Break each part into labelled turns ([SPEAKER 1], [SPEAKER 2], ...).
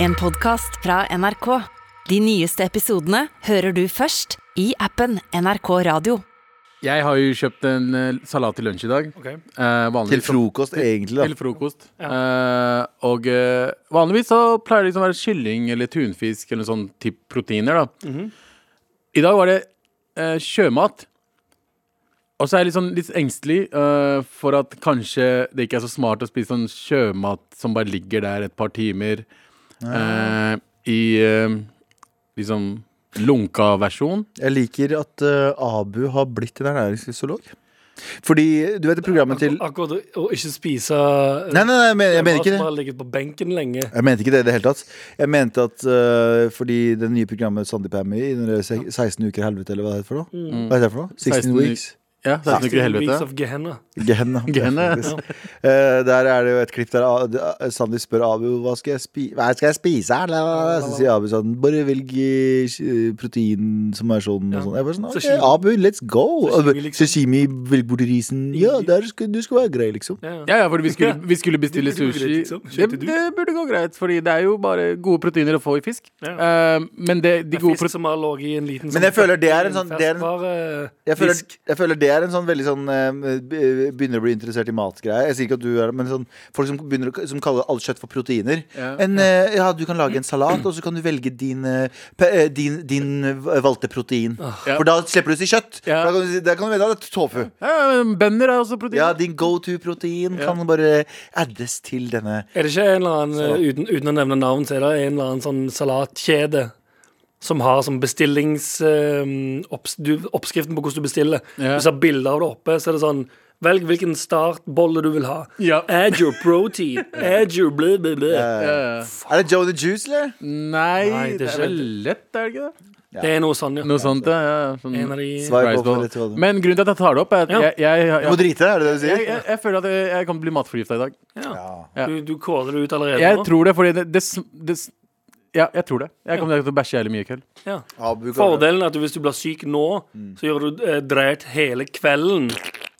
[SPEAKER 1] En podcast fra NRK. De nyeste episodene hører du først i appen NRK Radio.
[SPEAKER 2] Jeg har jo kjøpt en eh, salat til lunsj i dag.
[SPEAKER 3] Ok.
[SPEAKER 2] Eh, vanligvis
[SPEAKER 4] Til
[SPEAKER 2] så-
[SPEAKER 4] frokost, egentlig.
[SPEAKER 2] Til
[SPEAKER 4] da
[SPEAKER 2] frokost. Eh, og eh, vanligvis så pleier det liksom å være kylling eller tunfisk eller noe sånn typ proteiner, da.
[SPEAKER 3] Mhm.
[SPEAKER 2] I dag var det eh, sjømat. Og så er jeg litt sånn litt engstelig eh, for at kanskje det ikke er så smart å spise sånn sjømat som bare ligger der et par timer eh, i eh, liksom lunka versjon.
[SPEAKER 4] Jeg liker at eh, Abu har blitt en ernæringsfysiolog. Fordi du vet det programmet til Nei,
[SPEAKER 3] Akkurat å- å ikke spise eh,
[SPEAKER 4] nei, nei jeg, mener, jeg mener ikke
[SPEAKER 3] Mat som
[SPEAKER 4] det.
[SPEAKER 3] har ligget på benken lenge.
[SPEAKER 4] Jeg mente ikke det i det hele tatt. Jeg mente at eh, fordi det nye programmet Sandeep er med i, den der se- 16 uker i helvete, eller hva det heter for noe? Hva heter det for noe? 16,
[SPEAKER 2] 16
[SPEAKER 4] weeks.
[SPEAKER 2] Ja, 16 uker i
[SPEAKER 3] Weeks
[SPEAKER 2] helvete.
[SPEAKER 3] of Gehenna.
[SPEAKER 4] Gehenna.
[SPEAKER 2] Gehenna,
[SPEAKER 4] Det er faktisk. Eh, der er det jo et klipp der A- A- Sandeep spør Abu hva skal jeg, spi hva skal jeg spise. her? La- la- la. Så sier Abu sånn Bare velg eh, protein som er sånn og sånn. Jeg bare sånn, «Ok,
[SPEAKER 3] Sashimi.
[SPEAKER 4] Abu, let's go.
[SPEAKER 3] Sashimi,
[SPEAKER 4] Abu,
[SPEAKER 3] liksom.
[SPEAKER 4] Sashimi, velg bort risen. Ja, der skal, du skal være grei, liksom.
[SPEAKER 3] Ja.
[SPEAKER 2] Ja, ja, for vi skulle, vi skulle bestille
[SPEAKER 3] Det burde gå
[SPEAKER 2] sushi.
[SPEAKER 3] greit, liksom.
[SPEAKER 2] det,
[SPEAKER 3] Skjønte du?
[SPEAKER 2] det burde gå greit, Fordi det er jo bare gode proteiner å få i fisk. Eh, men det, de
[SPEAKER 3] Det er
[SPEAKER 2] gode
[SPEAKER 3] Fisk
[SPEAKER 2] proteiner
[SPEAKER 3] som har ligget i en liten
[SPEAKER 4] Men jeg føler det er en sånn- det er en-
[SPEAKER 3] ferskvare-
[SPEAKER 4] Jeg føler,
[SPEAKER 3] fisk.
[SPEAKER 4] jeg føler det er en sånn veldig sånn eh, be- Begynner å bli interessert i matgreier. Jeg sier ikke at du er det, men sånn, folk som, begynner, å- som kaller alt kjøtt for proteiner.
[SPEAKER 2] Ja.
[SPEAKER 4] En, eh, ja, du kan lage en salat, og så kan du velge din, eh, pe- eh, din, din eh, valgte protein. For da slipper du å si kjøtt.
[SPEAKER 2] Ja.
[SPEAKER 4] Da kan du, si- da kan du vite at det er tofu.
[SPEAKER 2] ja, men Bønder er også proteiner.
[SPEAKER 4] Ja, din go to-protein kan bare addes til denne.
[SPEAKER 3] Er det ikke en eller annen, eh, uten, uten å nevne navn, så er det en eller annen sånn salatkjede som har sånn bestillings... eh, opps, du, oppskriften på hvordan du bestiller.
[SPEAKER 2] Ja.
[SPEAKER 3] Du ser bilder av det oppe, så er det sånn Velg hvilken startbolle du vil ha.
[SPEAKER 2] Ja.
[SPEAKER 3] Add your protein. Add your blah, blah, blah.
[SPEAKER 2] Eh,
[SPEAKER 4] Er det Joe the Juice, eller?
[SPEAKER 2] nei,
[SPEAKER 3] Nei,
[SPEAKER 2] det,
[SPEAKER 3] det
[SPEAKER 2] er
[SPEAKER 3] skjer.
[SPEAKER 2] vel lett, er det ikke det?
[SPEAKER 3] Det er noe sånn, ja.
[SPEAKER 2] Noe sånt, ja. ja sånn
[SPEAKER 3] En av de
[SPEAKER 4] Svar-
[SPEAKER 2] rice ball.
[SPEAKER 4] Litt hva det-
[SPEAKER 2] Men grunnen til at jeg tar det opp, er at
[SPEAKER 3] Ja.
[SPEAKER 2] jeg, jeg,
[SPEAKER 4] Du må
[SPEAKER 2] jeg,
[SPEAKER 4] drite, er det det du
[SPEAKER 2] jeg,
[SPEAKER 4] sier?
[SPEAKER 2] jeg, jeg føler at jeg, jeg kan bli matforgifta i dag. Ja.
[SPEAKER 3] Du, du kåler det ut allerede
[SPEAKER 2] Jeg
[SPEAKER 3] nå?
[SPEAKER 2] tror det, fordi det, det, sm- det s- Ja, jeg tror det. Jeg kommer til å bæsje jævlig mye i kveld.
[SPEAKER 3] Ja.
[SPEAKER 4] Abu kan-
[SPEAKER 3] Fordelen er at du, hvis du blir syk nå,
[SPEAKER 4] Mm.
[SPEAKER 3] så gjør du eh, dreit hele kvelden.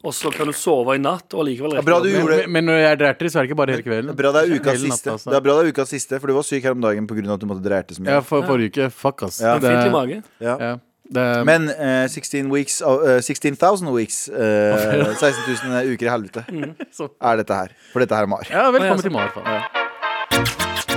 [SPEAKER 3] Og så kan du sove i natt og likevel
[SPEAKER 4] Ja, bra du
[SPEAKER 2] Men,
[SPEAKER 4] gjorde det.
[SPEAKER 2] men, men når jeg er drerter, så er det ikke bare hele kvelden.
[SPEAKER 4] Bra det er ukas
[SPEAKER 2] Hele natta,
[SPEAKER 4] siste.
[SPEAKER 2] altså.
[SPEAKER 4] Det er bra det er ukas siste, for du var syk her om dagen pga. at du måtte drerte så mye.
[SPEAKER 2] Ja, for, forrige uke. Fuck, ass.
[SPEAKER 4] Ja.
[SPEAKER 3] Det er fint i mage.
[SPEAKER 2] ja, det,
[SPEAKER 4] Men eh, 16 weeks av- eh, 16,000 weeks eh, 16 000 uker i helvete
[SPEAKER 2] Mm, Så-
[SPEAKER 4] er dette her. For dette her er Mar.
[SPEAKER 2] ja, velkommen
[SPEAKER 3] altså.
[SPEAKER 2] til Mar. faen. Ja.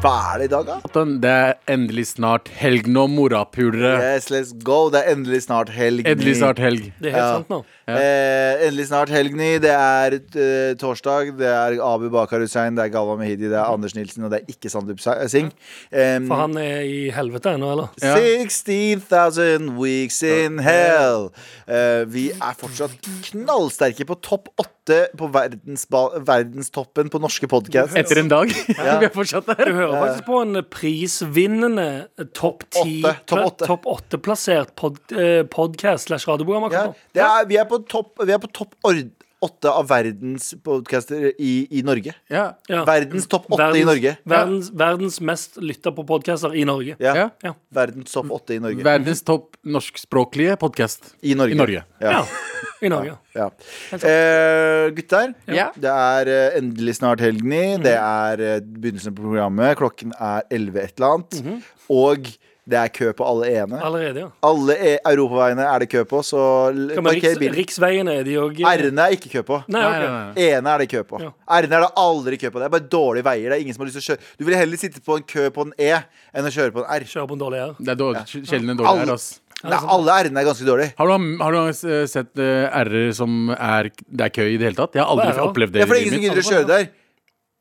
[SPEAKER 4] Hva er det i dag, da?
[SPEAKER 2] Det er endelig snart helg nå, morapulere.
[SPEAKER 4] Yes, let's go. Det er endelig snart helg.
[SPEAKER 2] Endelig snart helg.
[SPEAKER 3] Det er helt
[SPEAKER 4] Ja.
[SPEAKER 3] sant nå.
[SPEAKER 4] Eh, endelig snart helgny. Det er eh, torsdag. Det er Abu Bakar Hussein, det er Galva Mehidi, det er Anders Nilsen, og det er ikke Sandeep Sa- Singh. Em,
[SPEAKER 3] For han er i helvete ennå, eller?
[SPEAKER 2] Ja.
[SPEAKER 4] 16,000 weeks in hell. Eh, vi er fortsatt knallsterke på topp åtte på verdensba- verdenstoppen på norske podkast.
[SPEAKER 2] Etter en dag. Vi er fortsatt
[SPEAKER 3] Du
[SPEAKER 2] der.
[SPEAKER 3] hører faktisk på en prisvinnende eh, topp ti
[SPEAKER 4] Åtte. Topp åtte.
[SPEAKER 3] Topp åtte-plassert pod, eh, podcast slash radioprogram
[SPEAKER 4] Ja,
[SPEAKER 3] akkurat nå.
[SPEAKER 4] det er, vi er på topp Vi er på topp ord- åtte av verdens podcaster i, i Norge.
[SPEAKER 2] Ja.
[SPEAKER 3] Ja.
[SPEAKER 4] Verdens topp åtte i Norge.
[SPEAKER 3] Verdens, verdens mest lytta på podcaster i Norge.
[SPEAKER 4] Ja.
[SPEAKER 2] Ja.
[SPEAKER 3] Ja.
[SPEAKER 4] Verdens topp åtte i Norge.
[SPEAKER 2] Verdens topp norskspråklige podkast.
[SPEAKER 4] I Norge.
[SPEAKER 2] I Norge.
[SPEAKER 4] Ja.
[SPEAKER 3] Ja, I Norge.
[SPEAKER 4] Ja. Eh, gutter,
[SPEAKER 2] Ja.
[SPEAKER 4] det er eh, endelig snart helgen i. Det er eh, begynnelsen på programmet. Klokken er 11 et eller annet. Og det er kø på alle ene.
[SPEAKER 3] Allerede, ja.
[SPEAKER 4] Alle e europaveiene er det kø på, så l-
[SPEAKER 3] Hva med
[SPEAKER 4] parker
[SPEAKER 3] riks,
[SPEAKER 4] bilen.
[SPEAKER 3] riksveiene? Er de òg
[SPEAKER 4] R-ene er ikke kø på.
[SPEAKER 3] Nei,
[SPEAKER 2] Nei,
[SPEAKER 3] ok.
[SPEAKER 2] nei, nei.
[SPEAKER 4] Ene er det kø på.
[SPEAKER 3] Ja.
[SPEAKER 4] R-ene er det aldri kø på. Det er bare dårlige veier. Det er ingen som har lyst til å kjøre Du vil heller sitte på en kø på en E enn å kjøre på en R.
[SPEAKER 3] Kjører på en dårlig R.
[SPEAKER 2] Det er dårlig, sjelden en dårlig
[SPEAKER 4] Alle-
[SPEAKER 2] R, ass.
[SPEAKER 4] Nei, alle R-ene er ganske dårlige.
[SPEAKER 2] Har du, har du eh, sett eh, R-er som er Det er kø i det hele tatt? Jeg har aldri
[SPEAKER 3] Hva er det?
[SPEAKER 2] opplevd det.
[SPEAKER 4] Ja, for det
[SPEAKER 2] i
[SPEAKER 4] er ingen
[SPEAKER 2] livet
[SPEAKER 4] som
[SPEAKER 2] mitt.
[SPEAKER 4] gidder å kjøre der.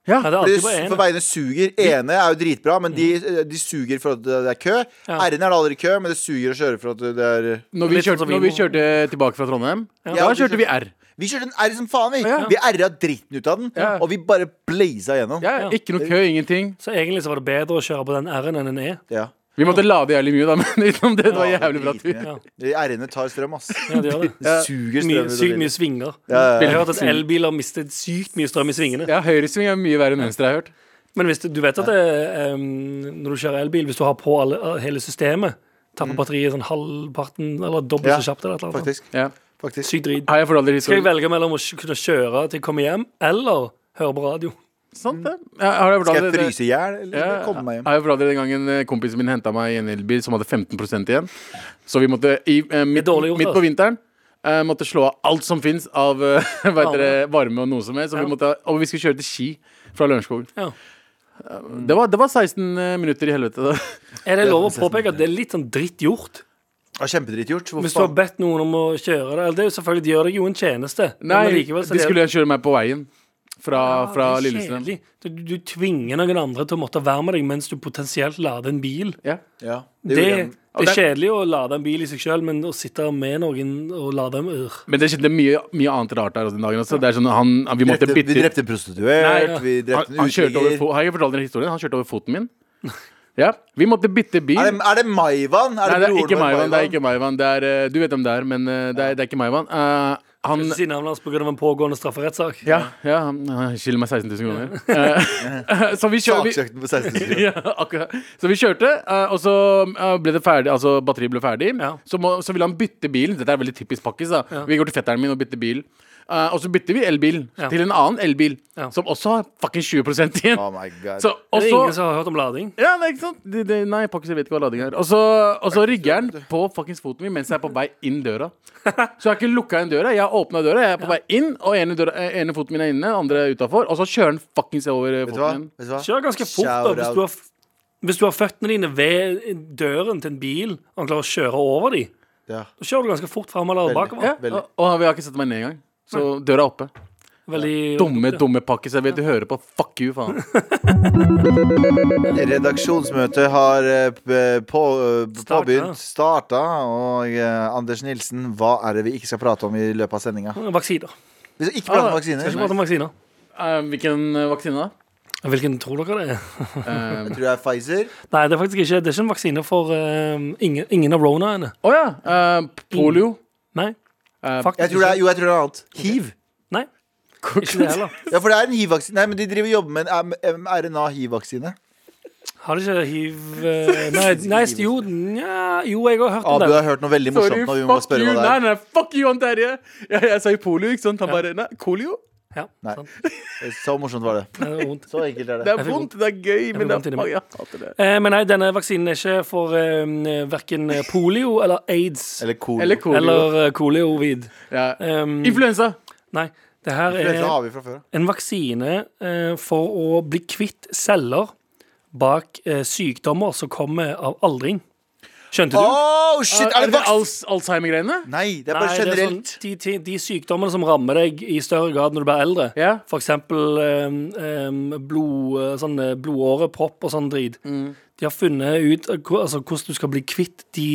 [SPEAKER 2] Ja. Mm.
[SPEAKER 3] Nei, det
[SPEAKER 4] Fordi
[SPEAKER 3] er alltid
[SPEAKER 4] s- For
[SPEAKER 3] bare én.
[SPEAKER 4] veiene suger. Ene er jo dritbra, men de, eh, de suger for at det er kø.
[SPEAKER 3] Ja.
[SPEAKER 4] R-ene er det aldri kø, men det suger å kjøre for at det er
[SPEAKER 2] Når vi,
[SPEAKER 3] Litt sånn
[SPEAKER 2] kjørte,
[SPEAKER 3] som vi
[SPEAKER 2] når vi
[SPEAKER 3] må-
[SPEAKER 2] kjørte tilbake fra Trondheim, da
[SPEAKER 4] Ja, vi
[SPEAKER 2] kjørte vi R.
[SPEAKER 4] Vi kjørte en R som faen, vi.
[SPEAKER 2] Ja.
[SPEAKER 4] Vi R-a dritten ut av den,
[SPEAKER 2] Ja.
[SPEAKER 4] og vi bare blaza gjennom.
[SPEAKER 2] Ja,
[SPEAKER 3] Ja.
[SPEAKER 2] Ikke noe kø, ingenting.
[SPEAKER 3] Så egentlig så var det bedre å kjøre på den R-en enn en E.
[SPEAKER 4] Ja.
[SPEAKER 2] Vi måtte lade jævlig mye, da, men utenom det, det var jævlig bra tur.
[SPEAKER 3] Ja.
[SPEAKER 4] De R-ene tar strøm, ass.
[SPEAKER 3] Ja, det gjør det.
[SPEAKER 4] Det suger strøm.
[SPEAKER 3] Mye,
[SPEAKER 4] ut av
[SPEAKER 3] sykt
[SPEAKER 4] bilen.
[SPEAKER 3] mye svinger.
[SPEAKER 4] ja, ja.
[SPEAKER 3] Jeg har hørt at elbiler mistet sykt mye strøm i svingene.
[SPEAKER 2] Ja, Høyresving er mye verre enn venstre, jeg har hørt.
[SPEAKER 3] Men hvis du, du vet at det, em, når du kjører elbil, hvis du har på eh, alle, hele systemet, tapper batteriet sånn halvparten eller dobbelt
[SPEAKER 4] Mm. Ja,
[SPEAKER 3] så kjapt eller et eller annet.
[SPEAKER 4] Faktisk.
[SPEAKER 2] Ja.
[SPEAKER 4] faktisk.
[SPEAKER 3] Sykt drit.
[SPEAKER 2] Har jeg fortalt dere
[SPEAKER 3] Skal jeg
[SPEAKER 2] historien?
[SPEAKER 3] velge mellom å kunne kjøre til jeg kommer hjem, eller høre på radio?
[SPEAKER 2] Sant
[SPEAKER 3] sånn,
[SPEAKER 2] det? Ja, har jeg
[SPEAKER 4] Skal
[SPEAKER 2] fortalt
[SPEAKER 4] jeg
[SPEAKER 2] dere
[SPEAKER 4] fryse i hjel, eller skal
[SPEAKER 2] Ja,
[SPEAKER 4] jeg komme meg hjem?
[SPEAKER 2] Har jeg fortalt dere den gangen eh, kompisen min henta meg i en elbil som hadde 15 igjen? Så vi måtte i, eh, midt,
[SPEAKER 3] dårlig gjort,
[SPEAKER 2] midt
[SPEAKER 3] altså.
[SPEAKER 2] på vinteren eh, måtte slå av alt som fins av eh, hva heter det, varme og noe som helst. Og vi, måtte, og vi skulle kjøre til Ski fra Lørenskog.
[SPEAKER 3] Ja.
[SPEAKER 2] Det, var- det var 16 minutter i helvete.
[SPEAKER 3] Er det lov å påpeke at det er litt sånn dritt gjort?
[SPEAKER 4] Ja, Kjempedritt gjort. Hvorfor
[SPEAKER 3] Hvis du har
[SPEAKER 4] faen?
[SPEAKER 3] bedt noen om å kjøre det, eller det er jo selvfølgelig, de gjør deg jo en tjeneste. men
[SPEAKER 2] Nei,
[SPEAKER 3] allikevel så er
[SPEAKER 2] de
[SPEAKER 3] det-
[SPEAKER 2] skulle kjøre meg på veien fra,
[SPEAKER 3] Ja,
[SPEAKER 2] fra
[SPEAKER 3] det er
[SPEAKER 2] Lillestrøm.
[SPEAKER 3] kjedelig. Du, du tvinger noen andre til å måtte være med deg mens du potensielt lader en bil.
[SPEAKER 2] Ja.
[SPEAKER 4] Ja,
[SPEAKER 3] Det,
[SPEAKER 4] gjorde jeg.
[SPEAKER 3] det,
[SPEAKER 2] Og
[SPEAKER 3] er
[SPEAKER 2] det-
[SPEAKER 3] kjedelig å lade en bil i seg sjøl, men å sitte med noen og lade dem ør.
[SPEAKER 2] Men det skjedde mye, mye annet rart der også den dagen. Også. Det er sånn, han, vi
[SPEAKER 4] Vi
[SPEAKER 2] måtte
[SPEAKER 4] drepte,
[SPEAKER 2] bytte
[SPEAKER 4] vi drepte en prostituert,
[SPEAKER 2] Nei, ja.
[SPEAKER 4] vi drepte
[SPEAKER 2] han,
[SPEAKER 4] en
[SPEAKER 2] han kjørte over
[SPEAKER 4] uteligger.
[SPEAKER 2] fo- Har jeg fortalt dere historien? Han kjørte over foten min. Ja, Vi måtte bytte bil.
[SPEAKER 4] Er det, er det Maivan? Er
[SPEAKER 2] Nei, det er
[SPEAKER 4] broren
[SPEAKER 2] ikke
[SPEAKER 4] vår,
[SPEAKER 2] Maivan. Det er ikke Maivan. Det er, eh, du vet hvem det er, men eh, det er, det er ikke Maivan. Eh, han
[SPEAKER 3] Ikke si navnet hans pga. en pågående strafferettssak.
[SPEAKER 2] ja, ja, han han skylder meg 16 000 kroner. Eh, så vi kjører vi,
[SPEAKER 4] Saksøkten på 16 000.
[SPEAKER 2] ja, akkurat. Så vi kjørte, eh, og så eh, ble det ferdig, altså batteriet ble ferdig.
[SPEAKER 3] Ja.
[SPEAKER 2] Så, må, så ville han bytte bilen. Dette er veldig typisk pakkis. da Vi går til fetteren min og bytter bil. Eh, og så bytter vi elbil
[SPEAKER 3] Ja.
[SPEAKER 2] til en annen elbil
[SPEAKER 3] Ja.
[SPEAKER 2] som også har fucking 20 igjen.
[SPEAKER 4] Oh my god.
[SPEAKER 2] Så, og
[SPEAKER 3] Det er
[SPEAKER 2] så
[SPEAKER 3] ingen som har hørt om lading.
[SPEAKER 2] ja, det er ikke sant? De, de, nei, pakkiser vet ikke hva lading er. Og så, og så rygger han på fuckings foten min mens jeg er på vei inn døra. Så jeg har ikke lukka igjen døra. Jeg har åpna døra, jeg er på vei inn, og ene, døra, eh, ene foten min er inne, den andre er utafor. Og så kjører han fuckings over eh,
[SPEAKER 4] Vet du hva?
[SPEAKER 2] foten min.
[SPEAKER 4] Vet du hva?
[SPEAKER 3] Kjør ganske fort da,
[SPEAKER 4] Shout
[SPEAKER 3] hvis
[SPEAKER 4] out.
[SPEAKER 3] du, har, f- hvis du har føttene dine ved døren til en bil og han klarer å kjøre over dem.
[SPEAKER 4] Ja.
[SPEAKER 3] Da kjører du ganske fort fram eller bakover.
[SPEAKER 2] Ja,
[SPEAKER 4] Veldig.
[SPEAKER 2] og, og vi har ikke sett meg ned engang. Så døra er oppe.
[SPEAKER 3] Veldig
[SPEAKER 2] Dumme, dumme pakkiser. Jeg vet du hører på. Fuck you, faen.
[SPEAKER 4] Redaksjonsmøtet har eh, p- på, eh,
[SPEAKER 3] Starta.
[SPEAKER 4] påbegynt, starta, og eh, Anders Nilsen, hva er det vi ikke skal prate om i løpet av sendinga?
[SPEAKER 3] Vaksiner.
[SPEAKER 4] Vi skal ikke prate om
[SPEAKER 2] Ah,
[SPEAKER 4] vaksiner.
[SPEAKER 3] Skal ikke
[SPEAKER 4] Jeg
[SPEAKER 3] prate om vaksiner.
[SPEAKER 2] Eh, hvilken eh, vaksine, da?
[SPEAKER 3] Hvilken tror dere det er?
[SPEAKER 2] Eh,
[SPEAKER 4] tror det er Pfizer.
[SPEAKER 3] Nei, det er faktisk ikke Det er ikke en vaksine for eh, ingen, ingen av ronaene.
[SPEAKER 2] Å ja. eh, polio.
[SPEAKER 3] Nei.
[SPEAKER 2] Eh,
[SPEAKER 3] Faktisk
[SPEAKER 4] Jeg tror det er, jo, jeg tror det er noe annet. Hiv.
[SPEAKER 3] Nei, ikke det heller.
[SPEAKER 4] Ja, for det er en hiv-vaksine. Nei, men de driver og jobber med en mRNA-hiv-vaksine.
[SPEAKER 3] Har det ikke hiv eh, Nei, nei jo, nja, jo, jeg har hørt om
[SPEAKER 4] Abu
[SPEAKER 3] det.
[SPEAKER 4] har hørt noe veldig
[SPEAKER 2] Sorry,
[SPEAKER 4] morsomt nå. Vi må
[SPEAKER 2] fuck
[SPEAKER 4] spørre
[SPEAKER 2] you.
[SPEAKER 4] hva det
[SPEAKER 2] Nei,
[SPEAKER 4] er.
[SPEAKER 2] nei, fuck you, han Terje. Jeg, jeg sa jo polio, ikke sant? Han bare Nei, kolio?
[SPEAKER 3] Ja,
[SPEAKER 4] Nei.
[SPEAKER 3] sant.
[SPEAKER 4] Så morsomt var det.
[SPEAKER 3] Det er vondt.
[SPEAKER 4] Så enkelt er
[SPEAKER 2] Det
[SPEAKER 4] det.
[SPEAKER 2] er
[SPEAKER 3] fikk
[SPEAKER 2] vondt, det er gøy, men det
[SPEAKER 3] vondt
[SPEAKER 2] er
[SPEAKER 3] inni meg.
[SPEAKER 2] faen, jeg hater det.
[SPEAKER 3] Eh, men nei, denne vaksinen er ikke for eh, verken polio eller aids.
[SPEAKER 4] Eller cool.
[SPEAKER 2] Eller kolio.
[SPEAKER 3] Eller eh, koliovid.
[SPEAKER 2] ja.
[SPEAKER 3] Um,
[SPEAKER 2] Influensa.
[SPEAKER 3] nei, det her er
[SPEAKER 4] Dette har vi fra før.
[SPEAKER 3] en vaksine eh, for å bli kvitt celler bak eh, sykdommer som kommer av aldring. Skjønte du?
[SPEAKER 4] Oh, shit, er det vaks?
[SPEAKER 2] als Alzheimer-greiene?
[SPEAKER 4] Nei, det er
[SPEAKER 3] Nei,
[SPEAKER 4] bare
[SPEAKER 3] det er
[SPEAKER 4] generelt.
[SPEAKER 3] sånn, de, de, de sykdommene som rammer deg i større grad når du blir eldre,
[SPEAKER 2] Ja.
[SPEAKER 3] for eksempel um, um, blod, eh, sånn eh, blodårepropp og sånn drit,
[SPEAKER 4] Mm.
[SPEAKER 3] de har funnet ut eh, hvor- altså, hvordan du skal bli kvitt de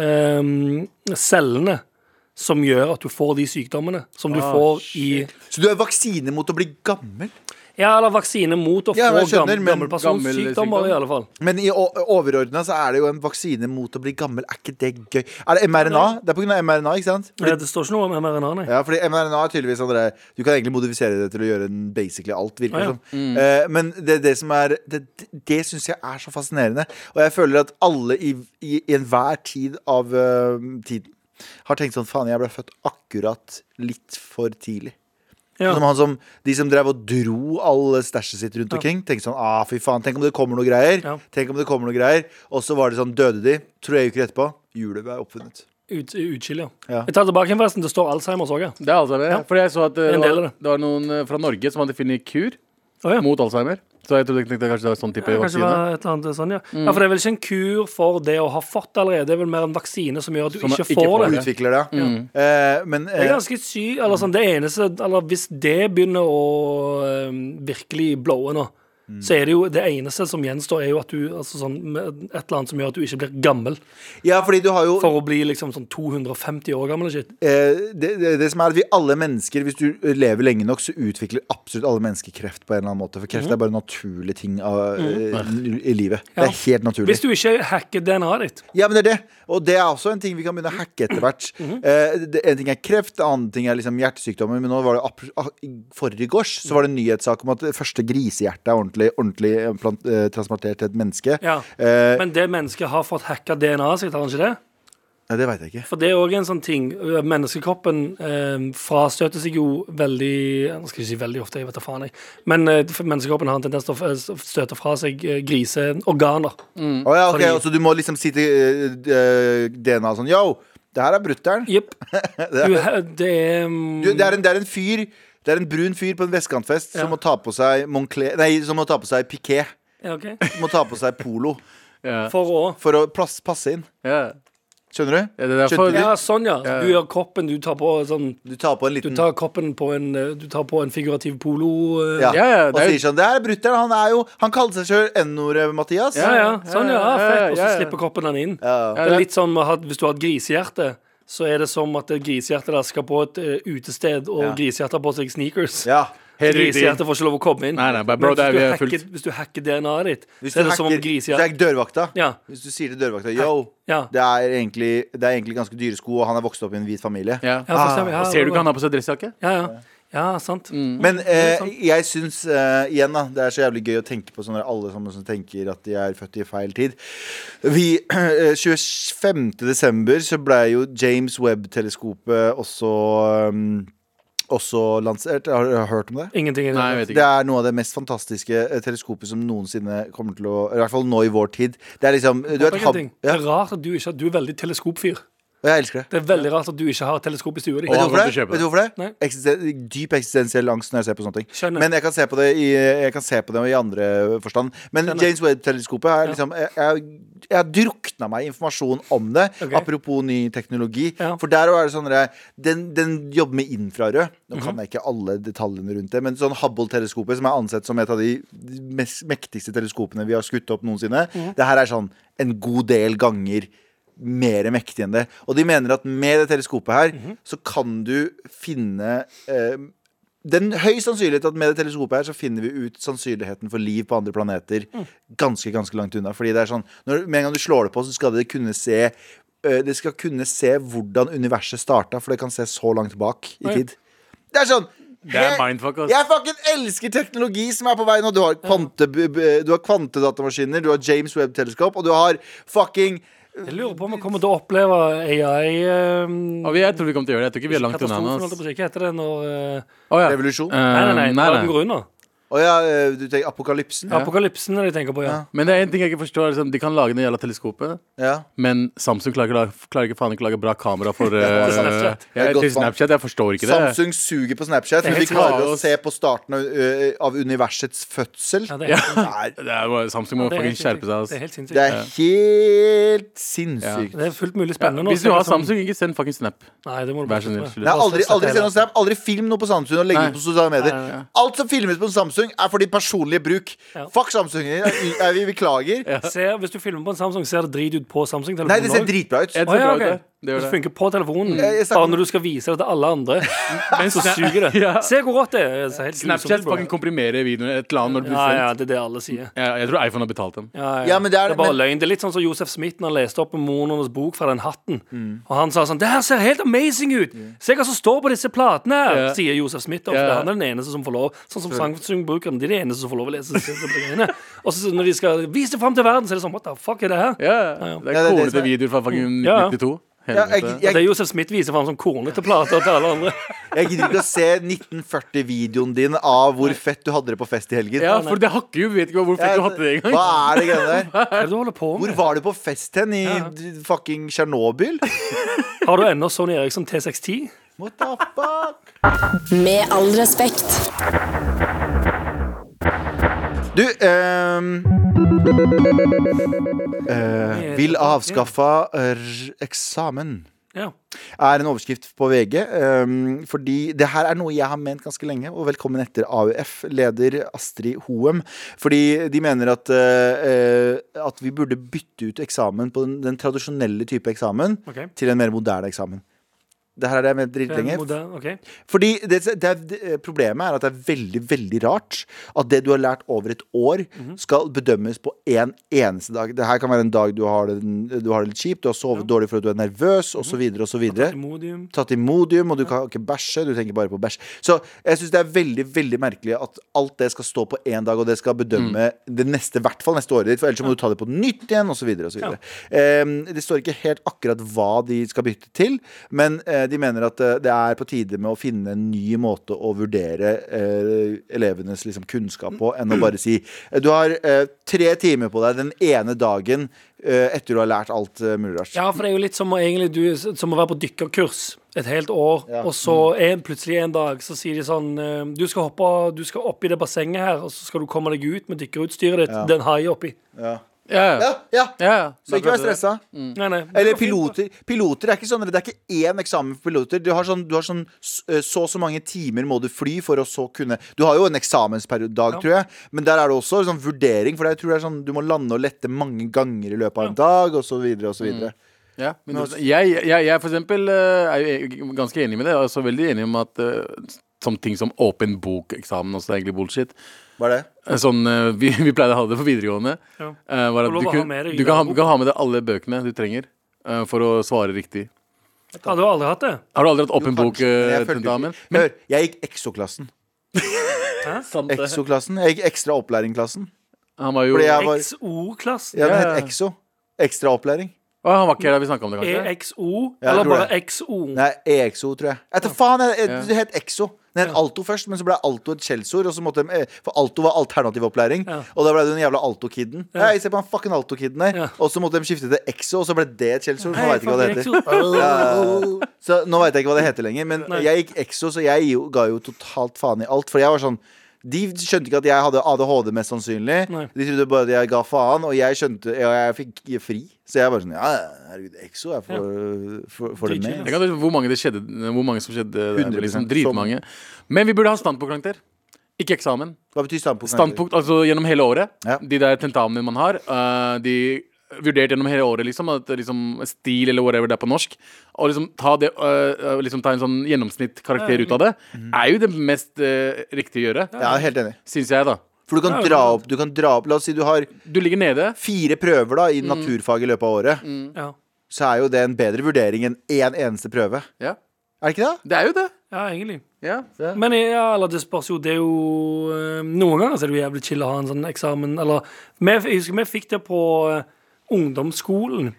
[SPEAKER 3] um, cellene som gjør at du får de sykdommene som
[SPEAKER 4] Ah,
[SPEAKER 3] du får i
[SPEAKER 4] Så du er vaksine mot å bli gammel?
[SPEAKER 3] Ja, eller vaksine mot å
[SPEAKER 4] Ja,
[SPEAKER 3] få
[SPEAKER 4] jeg skjønner,
[SPEAKER 3] gam,
[SPEAKER 4] men
[SPEAKER 3] gammel personsykdommer,
[SPEAKER 2] gammel sykdom?
[SPEAKER 3] i alle fall.
[SPEAKER 4] Men i overordna så er det jo en vaksine mot å bli gammel. Er ikke det gøy? Er det mRNA? Det er på grunn av mRNA, ikke sant?
[SPEAKER 3] Nei, Det står ikke noe om mRNA, nei.
[SPEAKER 4] Ja, fordi mRNA er tydeligvis sånn der, Du kan egentlig modifisere det til å gjøre den basically alt, virker
[SPEAKER 3] Ah,
[SPEAKER 4] det
[SPEAKER 3] ja.
[SPEAKER 4] som. Eh, men det, det som er Det, det syns jeg er så fascinerende. Og jeg føler at alle i, i, i enhver tid av eh, tiden har tenkt sånn Faen, jeg ble født akkurat litt for tidlig.
[SPEAKER 3] Ja.
[SPEAKER 4] Som han som, de som drev og dro all stæsjet sitt rundt omkring. Tenkte sånn, ah fy faen, Tenk om det kommer noe greier.
[SPEAKER 3] Ja.
[SPEAKER 4] Tenk om det kommer noe greier Og så var det sånn, døde de. Tre uker etterpå, hjulet ble oppfunnet.
[SPEAKER 3] Ut, utskill, ja.
[SPEAKER 4] Ja.
[SPEAKER 3] Jeg tar tilbake forresten, det står Alzheimers òg, ja.
[SPEAKER 2] Det er Alzheimer. Ja. For jeg så at eh,
[SPEAKER 3] er en
[SPEAKER 2] det
[SPEAKER 3] del
[SPEAKER 2] var,
[SPEAKER 3] av det.
[SPEAKER 2] det var noen eh, fra Norge som hadde funnet kur
[SPEAKER 3] Å, ja.
[SPEAKER 2] mot Alzheimer. Så jeg trodde tenkte kanskje det var sånn type
[SPEAKER 3] Ja, Kanskje det
[SPEAKER 2] vaksine.
[SPEAKER 3] var et eller annet sånn, ja. ja, for det er vel ikke en kur for det å ha fått det allerede. Det er vel mer en vaksine som gjør at du
[SPEAKER 2] Som
[SPEAKER 3] ikke,
[SPEAKER 2] ikke
[SPEAKER 3] får
[SPEAKER 2] får
[SPEAKER 3] det.
[SPEAKER 2] det.
[SPEAKER 4] Utvikler det. Eh, men
[SPEAKER 3] Det er
[SPEAKER 4] eh,
[SPEAKER 3] ganske sykt. Eller sånn, det eneste Eller hvis det begynner å øhm, virkelig blowe nå,
[SPEAKER 2] Mm.
[SPEAKER 3] så er det jo det eneste som gjenstår, er jo at du altså sånn, med Et eller annet som gjør at du ikke blir gammel.
[SPEAKER 4] Ja, fordi du har jo
[SPEAKER 3] For å bli liksom sånn 250 år gammel og shit.
[SPEAKER 4] eh, det, det, det som er at vi alle mennesker, hvis du lever lenge nok, så utvikler absolutt alle mennesker kreft på en eller annen måte. For kreft er bare en naturlig ting av, eh, i livet.
[SPEAKER 3] Mhm. Ja.
[SPEAKER 4] Det er helt naturlig.
[SPEAKER 3] Hvis du ikke hacker DNA-et ditt.
[SPEAKER 4] Ja, men det er det. Og det er også en ting vi kan begynne å hacke etter hvert.
[SPEAKER 3] Mhm.
[SPEAKER 4] Eh, det- en ting er kreft, en annen ting er liksom hjertesykdommer. Men nå var det ap- ah, i forgårs så var det en nyhetssak om at det første grisehjertet er ordentlig, ordentlig implant- eh, transplantert til et menneske.
[SPEAKER 3] Ja.
[SPEAKER 4] Eh,
[SPEAKER 3] Men det mennesket har fått hacka DNA-et sitt, har han ikke det?
[SPEAKER 4] Nei, det veit jeg ikke.
[SPEAKER 3] For det er òg en sånn ting. Menneskekroppen eh, frastøter seg jo veldig Nå skal jeg ikke si veldig ofte, jeg vet da faen, jeg. Men eh, for menneskekroppen har en tendens til å f- eh, støte fra seg eh, griseorganer.
[SPEAKER 4] Å ja, ok,
[SPEAKER 3] Mm. Fordi-
[SPEAKER 4] Så du må liksom si til eh, eh, DNA sånn Yo, det her er brutter'n.
[SPEAKER 3] Jepp. Du, he- Det er mm,
[SPEAKER 4] Du, det, er en, det er en fyr Det er en brun fyr på en vestkantfest som
[SPEAKER 3] Ja.
[SPEAKER 4] må ta på seg Moncler Nei, som må ta på seg piké.
[SPEAKER 3] ja, ok.
[SPEAKER 4] Som må ta på seg polo
[SPEAKER 2] Ja.
[SPEAKER 3] For å
[SPEAKER 4] for å plass, passe inn.
[SPEAKER 2] Ja.
[SPEAKER 4] Skjønner du?
[SPEAKER 2] Ja, det er derfor-
[SPEAKER 4] Skjønte du?
[SPEAKER 3] Ja, sånn, ja. Du gjør kroppen Du tar på sånn
[SPEAKER 4] Du tar på en
[SPEAKER 3] Du
[SPEAKER 4] liten
[SPEAKER 3] tar kroppen på en eh, Du tar på en figurativ polo. eh,
[SPEAKER 4] ja.
[SPEAKER 2] Ja, ja, det
[SPEAKER 4] Og
[SPEAKER 2] er jo-
[SPEAKER 4] sier sånn Det her er brutter'n. Han er jo Han kaller seg sjøl N-ordet, Mathias.
[SPEAKER 3] Ja, ja. Sånn, ja.
[SPEAKER 2] Ja, ja,
[SPEAKER 3] Fett. Og så
[SPEAKER 2] ja, ja.
[SPEAKER 3] slipper kroppen den inn.
[SPEAKER 4] Ja.
[SPEAKER 3] Det er litt sånn med at Hvis du har et grisehjerte, så er det som at det grisehjertet der skal på et eh, utested, og
[SPEAKER 4] Ja.
[SPEAKER 3] grisehjertet har på seg sneakers.
[SPEAKER 4] Ja.
[SPEAKER 2] Helt
[SPEAKER 3] Grisehjertet
[SPEAKER 2] riktig.
[SPEAKER 3] får ikke lov å komme inn.
[SPEAKER 2] Nei, nei, bare, bro,
[SPEAKER 3] Men
[SPEAKER 2] det er- vi er
[SPEAKER 3] hvis, du hacker,
[SPEAKER 2] fullt-
[SPEAKER 3] hvis du hacker DNA-et ditt,
[SPEAKER 4] Hvis
[SPEAKER 3] så
[SPEAKER 4] du
[SPEAKER 3] er det som om
[SPEAKER 4] hacker-
[SPEAKER 3] grisehjertet
[SPEAKER 4] hvis det er dørvakta.
[SPEAKER 3] Ja.
[SPEAKER 4] Hvis du sier til dørvakta Yo,
[SPEAKER 3] Ja.
[SPEAKER 4] det, er egentlig, det er egentlig ganske dyre sko, og han er vokst opp i en hvit familie.
[SPEAKER 2] Ja.
[SPEAKER 3] Ja, for eksempel, ja,
[SPEAKER 2] Ah, Og Ser du ikke han har Mm. på seg dressjakke?
[SPEAKER 3] Ja, ja. ja sant.
[SPEAKER 4] Men eh, jeg syns eh, igjen da Det er så jævlig gøy å tenke på sånne alle sammen som tenker at de er født i feil tid. Vi, eh, 25. desember så ble jo James Webb-teleskopet også, um, også lansert. Har du hørt om det?
[SPEAKER 3] Ingenting i
[SPEAKER 2] Nei, jeg
[SPEAKER 3] det.
[SPEAKER 2] vet
[SPEAKER 4] Det
[SPEAKER 2] ikke.
[SPEAKER 4] er noe av det mest fantastiske eh, teleskopet som noensinne kommer til å I hvert fall nå i vår tid. Det er liksom du vet, hab,
[SPEAKER 3] Ingenting. Det
[SPEAKER 4] ja,
[SPEAKER 3] er rart at du ikke har Du er veldig teleskopfyr.
[SPEAKER 4] og Jeg elsker det.
[SPEAKER 3] Det er veldig rart at du ikke har teleskop i stua di.
[SPEAKER 2] Og
[SPEAKER 4] Vet
[SPEAKER 2] han
[SPEAKER 4] du hvorfor
[SPEAKER 2] kommer
[SPEAKER 4] det?
[SPEAKER 2] til å kjøpe
[SPEAKER 4] Vet du
[SPEAKER 2] det.
[SPEAKER 4] hvorfor det?
[SPEAKER 3] Nei.
[SPEAKER 4] Eksisten- dyp eksistensiell angst når jeg ser på sånne ting.
[SPEAKER 3] Skjønner.
[SPEAKER 4] Men jeg kan se på det i, jeg kan se på det i andre forstand. Men James Webb-teleskopet er liksom Jeg, jeg, jeg har drukna meg i informasjon om det.
[SPEAKER 3] Ok.
[SPEAKER 4] Apropos ny teknologi.
[SPEAKER 3] Ja.
[SPEAKER 4] For der er det sånn der- den, den jobber med infrarød. Nå
[SPEAKER 3] Mhm.
[SPEAKER 4] kan jeg ikke alle detaljene rundt det, men sånn Hubble-teleskopet, som er ansett som et av de mest mektigste teleskopene vi har skutt opp noensinne, det her er sånn en god del ganger mer mektig enn det. Og de mener at med det teleskopet her,
[SPEAKER 3] Mhm.
[SPEAKER 4] så kan du finne eh, den høy sannsynlighet at med det teleskopet her så finner vi ut sannsynligheten for liv på andre planeter ganske ganske langt unna. Fordi det er sånn, når, Med en gang du slår det på, så skal det kunne se øh, Det skal kunne se hvordan universet starta, for det kan se så langt bak i
[SPEAKER 3] Oi.
[SPEAKER 4] tid. Det er sånn
[SPEAKER 2] Det er
[SPEAKER 4] jeg-
[SPEAKER 2] mindfuck, ass.
[SPEAKER 4] jeg fucking elsker teknologi som er på vei nå. Du har, kvante, b- b- du har kvantedatamaskiner, du har James Webb-teleskop, og du har fucking
[SPEAKER 3] Jeg lurer på om vi kommer til å oppleve AI um,
[SPEAKER 2] Og vi- jeg tror vi kommer til å gjøre det. Jeg tror ikke vi er langt unna
[SPEAKER 3] katastrofen,
[SPEAKER 2] nå.
[SPEAKER 3] holdt jeg
[SPEAKER 2] ass.
[SPEAKER 3] på å si. Hva heter det når eh,
[SPEAKER 2] Å, ja.
[SPEAKER 4] Revolusjon.
[SPEAKER 2] Eh,
[SPEAKER 3] Nei, nei, nei.
[SPEAKER 2] nei,
[SPEAKER 3] verden
[SPEAKER 2] nei.
[SPEAKER 3] går under.
[SPEAKER 4] Å ja, øh, du tenker apokalypsen? Ja.
[SPEAKER 3] Apokalypsen er det jeg tenker på, ja.
[SPEAKER 2] Men det er en ting jeg ikke forstår. Liksom, de kan lage det jævla teleskopet, men Samsung klarer, ikke la- klarer ikke faen ikke lage bra kamera for eh,
[SPEAKER 4] til
[SPEAKER 3] Snapchat.
[SPEAKER 2] ja,
[SPEAKER 4] Det er
[SPEAKER 2] til
[SPEAKER 4] godt, man.
[SPEAKER 2] Snapchat. Jeg forstår ikke det.
[SPEAKER 4] Samsung suger på Snapchat, men
[SPEAKER 2] Helt
[SPEAKER 4] de klarer
[SPEAKER 2] kaos.
[SPEAKER 4] å se på starten av, øh, av universets fødsel.
[SPEAKER 3] Ja,
[SPEAKER 4] det,
[SPEAKER 3] det er,
[SPEAKER 4] er,
[SPEAKER 2] det er, jo- Samsung må
[SPEAKER 3] det er
[SPEAKER 2] fucking
[SPEAKER 3] helt
[SPEAKER 2] skjerpe seg.
[SPEAKER 3] sinnssykt.
[SPEAKER 2] ass.
[SPEAKER 3] Det er helt
[SPEAKER 4] det
[SPEAKER 3] sinnssykt.
[SPEAKER 4] er helt sinnssykt.
[SPEAKER 3] Det er fullt mulig
[SPEAKER 2] Ja,
[SPEAKER 3] spennende. nå,
[SPEAKER 2] hvis du
[SPEAKER 3] så er
[SPEAKER 2] har
[SPEAKER 3] det sånn-
[SPEAKER 2] Samsung, ikke send fucking Snap.
[SPEAKER 3] Nei, det må du
[SPEAKER 2] Vær
[SPEAKER 3] bare
[SPEAKER 2] så snill.
[SPEAKER 3] slutte med.
[SPEAKER 4] Nei, aldri,
[SPEAKER 3] Støtte
[SPEAKER 4] aldri,
[SPEAKER 3] hele.
[SPEAKER 4] send noe snap, aldri film noe på Samsung og legg
[SPEAKER 2] Nei.
[SPEAKER 4] det ut på sosiale medier.
[SPEAKER 3] Nei, nei, nei.
[SPEAKER 4] Alt som filmes på Samsung, er for din personlige bruk.
[SPEAKER 3] Ja.
[SPEAKER 4] Fuck Samsung. Jeg, jeg, vi beklager.
[SPEAKER 3] Se, hvis du filmer på en Samsung, ser det drit ut på Samsung-telefonen
[SPEAKER 4] Nei, det ser
[SPEAKER 3] også.
[SPEAKER 4] dritbra ut.
[SPEAKER 2] Jeg
[SPEAKER 3] Å, ja,
[SPEAKER 2] tror bra
[SPEAKER 3] ok.
[SPEAKER 2] ut, det. Det gjør
[SPEAKER 3] det
[SPEAKER 2] det.
[SPEAKER 3] funker på telefonen.
[SPEAKER 4] jeg snakker-
[SPEAKER 3] Bare når du skal vise det til alle andre. så suger det.
[SPEAKER 2] Ja.
[SPEAKER 3] Se hvor rått det er. Det er helt
[SPEAKER 2] Snapchat
[SPEAKER 3] grusomt, bro.
[SPEAKER 2] fucking komprimerer videoen et eller annet når det blir
[SPEAKER 3] Ja, ja,
[SPEAKER 2] sendt.
[SPEAKER 3] det er det alle sier.
[SPEAKER 2] Ja, jeg tror iPhone har betalt dem.
[SPEAKER 3] Ja, ja.
[SPEAKER 4] Ja, men det er-
[SPEAKER 3] bare
[SPEAKER 4] men-
[SPEAKER 3] løgn. Det er litt sånn som Josef Smith når han leste opp mormonernes bok fra den hatten.
[SPEAKER 4] Mm.
[SPEAKER 3] Og han sa sånn Det her ser helt amazing ut! Se hva som står på disse platene! her
[SPEAKER 2] Ja.
[SPEAKER 3] Sier Josef Smith. Og
[SPEAKER 2] Ja.
[SPEAKER 3] for Han er den eneste som får lov. Sånn som sangbrukerne. De er de eneste som får lov å lese disse greiene. Og så når de skal vise det fram til verden, så er det sånn What the fuck er det
[SPEAKER 2] Ja,
[SPEAKER 3] her?
[SPEAKER 2] Det
[SPEAKER 4] Ja, det
[SPEAKER 2] er
[SPEAKER 4] er det som
[SPEAKER 2] kornete
[SPEAKER 4] er-
[SPEAKER 2] videoer fra fucking
[SPEAKER 3] Ja, ja.
[SPEAKER 2] 1992.
[SPEAKER 4] Ja, jeg,
[SPEAKER 2] Helvete.
[SPEAKER 3] Og det
[SPEAKER 4] jeg,
[SPEAKER 3] er Josef Smith viser fram som kornete plater til alle andre.
[SPEAKER 4] jeg gidder ikke å se 1940-videoen din av hvor fett du hadde det på fest i helgen.
[SPEAKER 2] Ja, for det hakker jo. Vi vet ikke hvor fett
[SPEAKER 4] Jeg-
[SPEAKER 2] du hatt det engang.
[SPEAKER 4] Hva er det greiene der?
[SPEAKER 3] Hva er det du holder på
[SPEAKER 4] Hvor
[SPEAKER 3] med?
[SPEAKER 4] var du på fest hen? I d- fucking Tsjernobyl?
[SPEAKER 3] Har du ennå Sony Eriksson T610?
[SPEAKER 4] What the fuck?
[SPEAKER 1] Med all respekt.
[SPEAKER 4] Du, ehm eh, Vil avskaffa eh, r- eksamen.
[SPEAKER 3] Ja.
[SPEAKER 4] er en overskrift på VG. ehm, fordi det her er noe jeg har ment ganske lenge. Og velkommen etter AUF, leder Astrid Hoem. Fordi de mener at, eh, eh, at vi burde bytte ut eksamen på den, den tradisjonelle type eksamen
[SPEAKER 3] Ok.
[SPEAKER 4] til en mer moderne eksamen. Det her er det jeg mente
[SPEAKER 3] Det er en
[SPEAKER 4] dritlenge.
[SPEAKER 3] modell, ok.
[SPEAKER 4] Fordi det, det, er- det, Problemet er at det er veldig veldig rart at det du har lært over et år, skal bedømmes på én en eneste dag. Det her kan være en dag du har det, du har det litt kjipt, du har sovet dårlig fordi du er nervøs osv. osv.
[SPEAKER 3] Imodium.
[SPEAKER 4] Tatt Imodium, og du kan ikke bæsje. Du tenker bare på bæsj. Så jeg syns det er veldig veldig merkelig at alt det skal stå på én dag, og det skal bedømme det neste, i hvert fall neste året ditt, for ellers så må du ta det på nytt igjen, osv. videre Um, det står ikke helt akkurat hva de skal bytte til, men eh, de mener at eh, det er på tide med å finne en ny måte å vurdere eh, elevenes liksom, kunnskap på, enn å bare si eh, Du har eh, tre timer på deg den ene dagen eh, etter du har lært alt uh, mulig rart.
[SPEAKER 3] Ja, for det er jo litt som å, egentlig, du, som å være på dykkerkurs et helt år,
[SPEAKER 4] Ja. Mm.
[SPEAKER 3] og så en, plutselig en dag så sier de sånn eh, Du skal hoppe du skal opp i det bassenget her, og så skal du komme deg ut med dykkerutstyret ditt. Den har jeg oppi.
[SPEAKER 2] Ja, ja.
[SPEAKER 4] Ja, ja.
[SPEAKER 2] ja, ja.
[SPEAKER 4] Så ikke vær stressa.
[SPEAKER 3] Nei, nei.
[SPEAKER 4] Eller
[SPEAKER 3] Sånn Det går fint, da.
[SPEAKER 4] piloter. Piloter er ikke sånn, Det er ikke én eksamen for piloter. Du har sånn, du har sånn s- eh, så og så mange timer må du fly for å så kunne Du har jo en eksamensperiodedag,
[SPEAKER 3] Ja.
[SPEAKER 4] tror jeg, men der er det også sånn vurdering. For jeg tror det er sånn du må lande og lette mange ganger i løpet av en dag, og så videre og så videre.
[SPEAKER 3] Mm.
[SPEAKER 2] Ja, men det- jeg, jeg, jeg for eksempel eh, er jo e- ganske enig med det. Og så veldig enig om at eh, som ting som åpen bok-eksamen også er egentlig bullshit.
[SPEAKER 4] Hva er det?
[SPEAKER 2] Eh, Sånn, eh, vi, vi pleide å ha det på videregående.
[SPEAKER 3] Ja.
[SPEAKER 2] eh, var at
[SPEAKER 3] Får lov
[SPEAKER 2] du
[SPEAKER 3] å ha
[SPEAKER 2] kun-
[SPEAKER 3] med deg i
[SPEAKER 2] du kan, ha,
[SPEAKER 3] lærebok.
[SPEAKER 2] kan ha med deg alle bøkene du trenger eh, for å svare riktig.
[SPEAKER 3] Har du aldri hatt det?
[SPEAKER 2] Har du aldri hatt åpen eh,
[SPEAKER 4] Kanskje, men jeg følte
[SPEAKER 2] bok-tentamen?
[SPEAKER 4] ikke- Hør, jeg gikk exo-klassen.
[SPEAKER 2] Han
[SPEAKER 4] Exo-klassen. Jeg gikk ekstra opplæring-klassen.
[SPEAKER 2] var jo
[SPEAKER 4] Fordi jeg- var-
[SPEAKER 3] XO-klassen?
[SPEAKER 4] Ja, den
[SPEAKER 2] Ja, ja.
[SPEAKER 4] het exo. Ekstra opplæring.
[SPEAKER 2] Å, Han var ikke her da vi snakka om det, kanskje?
[SPEAKER 3] EXO?
[SPEAKER 4] Ja, jeg
[SPEAKER 3] E eller
[SPEAKER 4] tror
[SPEAKER 3] bare
[SPEAKER 4] det.
[SPEAKER 3] XO?
[SPEAKER 4] Nei, EXO, tror jeg. Jeg vet da faen, jeg, jeg,
[SPEAKER 2] Ja.
[SPEAKER 4] det het EXO. Den het Alto først, men så ble Alto et skjellsord. og så måtte de- eh, For Alto var alternativ opplæring.
[SPEAKER 3] Ja.
[SPEAKER 4] Og da ble du den jævla Alto-kiden. Hei, se på han fucking Alto-kiden her.
[SPEAKER 3] Ja.
[SPEAKER 4] Og så måtte de skifte til EXO, og så ble det et skjellsord. så Nå
[SPEAKER 3] Hei,
[SPEAKER 4] veit jeg ikke hva det heter.
[SPEAKER 3] fucking XO.
[SPEAKER 4] Ja. Så nå veit jeg ikke hva det heter lenger. Men
[SPEAKER 3] Nei.
[SPEAKER 4] jeg gikk EXO, så jeg jo, ga jo totalt faen i alt. For jeg var sånn de skjønte ikke at jeg hadde ADHD, mest sannsynlig.
[SPEAKER 3] Nei.
[SPEAKER 4] De trodde bare at jeg ga faen, og jeg skjønte Og jeg fikk fri. Så jeg bare sånn Ja, herregud, EXO, jeg får, får, får det
[SPEAKER 3] Dritchill,
[SPEAKER 4] med.
[SPEAKER 2] Tenk at det- hvor mange, det skjedde, hvor mange som skjedde der,
[SPEAKER 4] 100%
[SPEAKER 2] liksom,
[SPEAKER 4] som-
[SPEAKER 2] Dritmange. Men vi burde ha standpunktkarakter. Ikke eksamen.
[SPEAKER 4] Hva betyr standpunkt?
[SPEAKER 2] Standpunkt altså gjennom hele året.
[SPEAKER 4] Ja.
[SPEAKER 2] De der tentamene man har. eh, de Vurdert gjennom hele året, liksom. At, det liksom stil eller whatever det er på norsk. Og liksom ta, det, eh, eh, liksom, ta en sånn gjennomsnittkarakter ut av det, er jo det mest eh, riktige å gjøre.
[SPEAKER 4] Ja, helt enig.
[SPEAKER 2] Syns jeg, da.
[SPEAKER 4] For du kan,
[SPEAKER 3] Ja,
[SPEAKER 4] dra
[SPEAKER 3] sant.
[SPEAKER 4] opp, du kan dra opp La oss si du har
[SPEAKER 2] Du ligger nede.
[SPEAKER 4] fire prøver da
[SPEAKER 3] Mm.
[SPEAKER 4] i naturfag i løpet av året.
[SPEAKER 3] Ja.
[SPEAKER 4] Så er jo det en bedre vurdering enn én eneste prøve.
[SPEAKER 2] Ja.
[SPEAKER 4] Er det ikke det?
[SPEAKER 2] Det er jo det.
[SPEAKER 3] ja, egentlig.
[SPEAKER 2] Ja.
[SPEAKER 3] Men ja, eller det spørs jo Det er jo eh, Noen ganger så er det jo jævlig chill å ha en sånn eksamen Eller vi, Jeg husker vi fikk det på eh, ungdomsskolen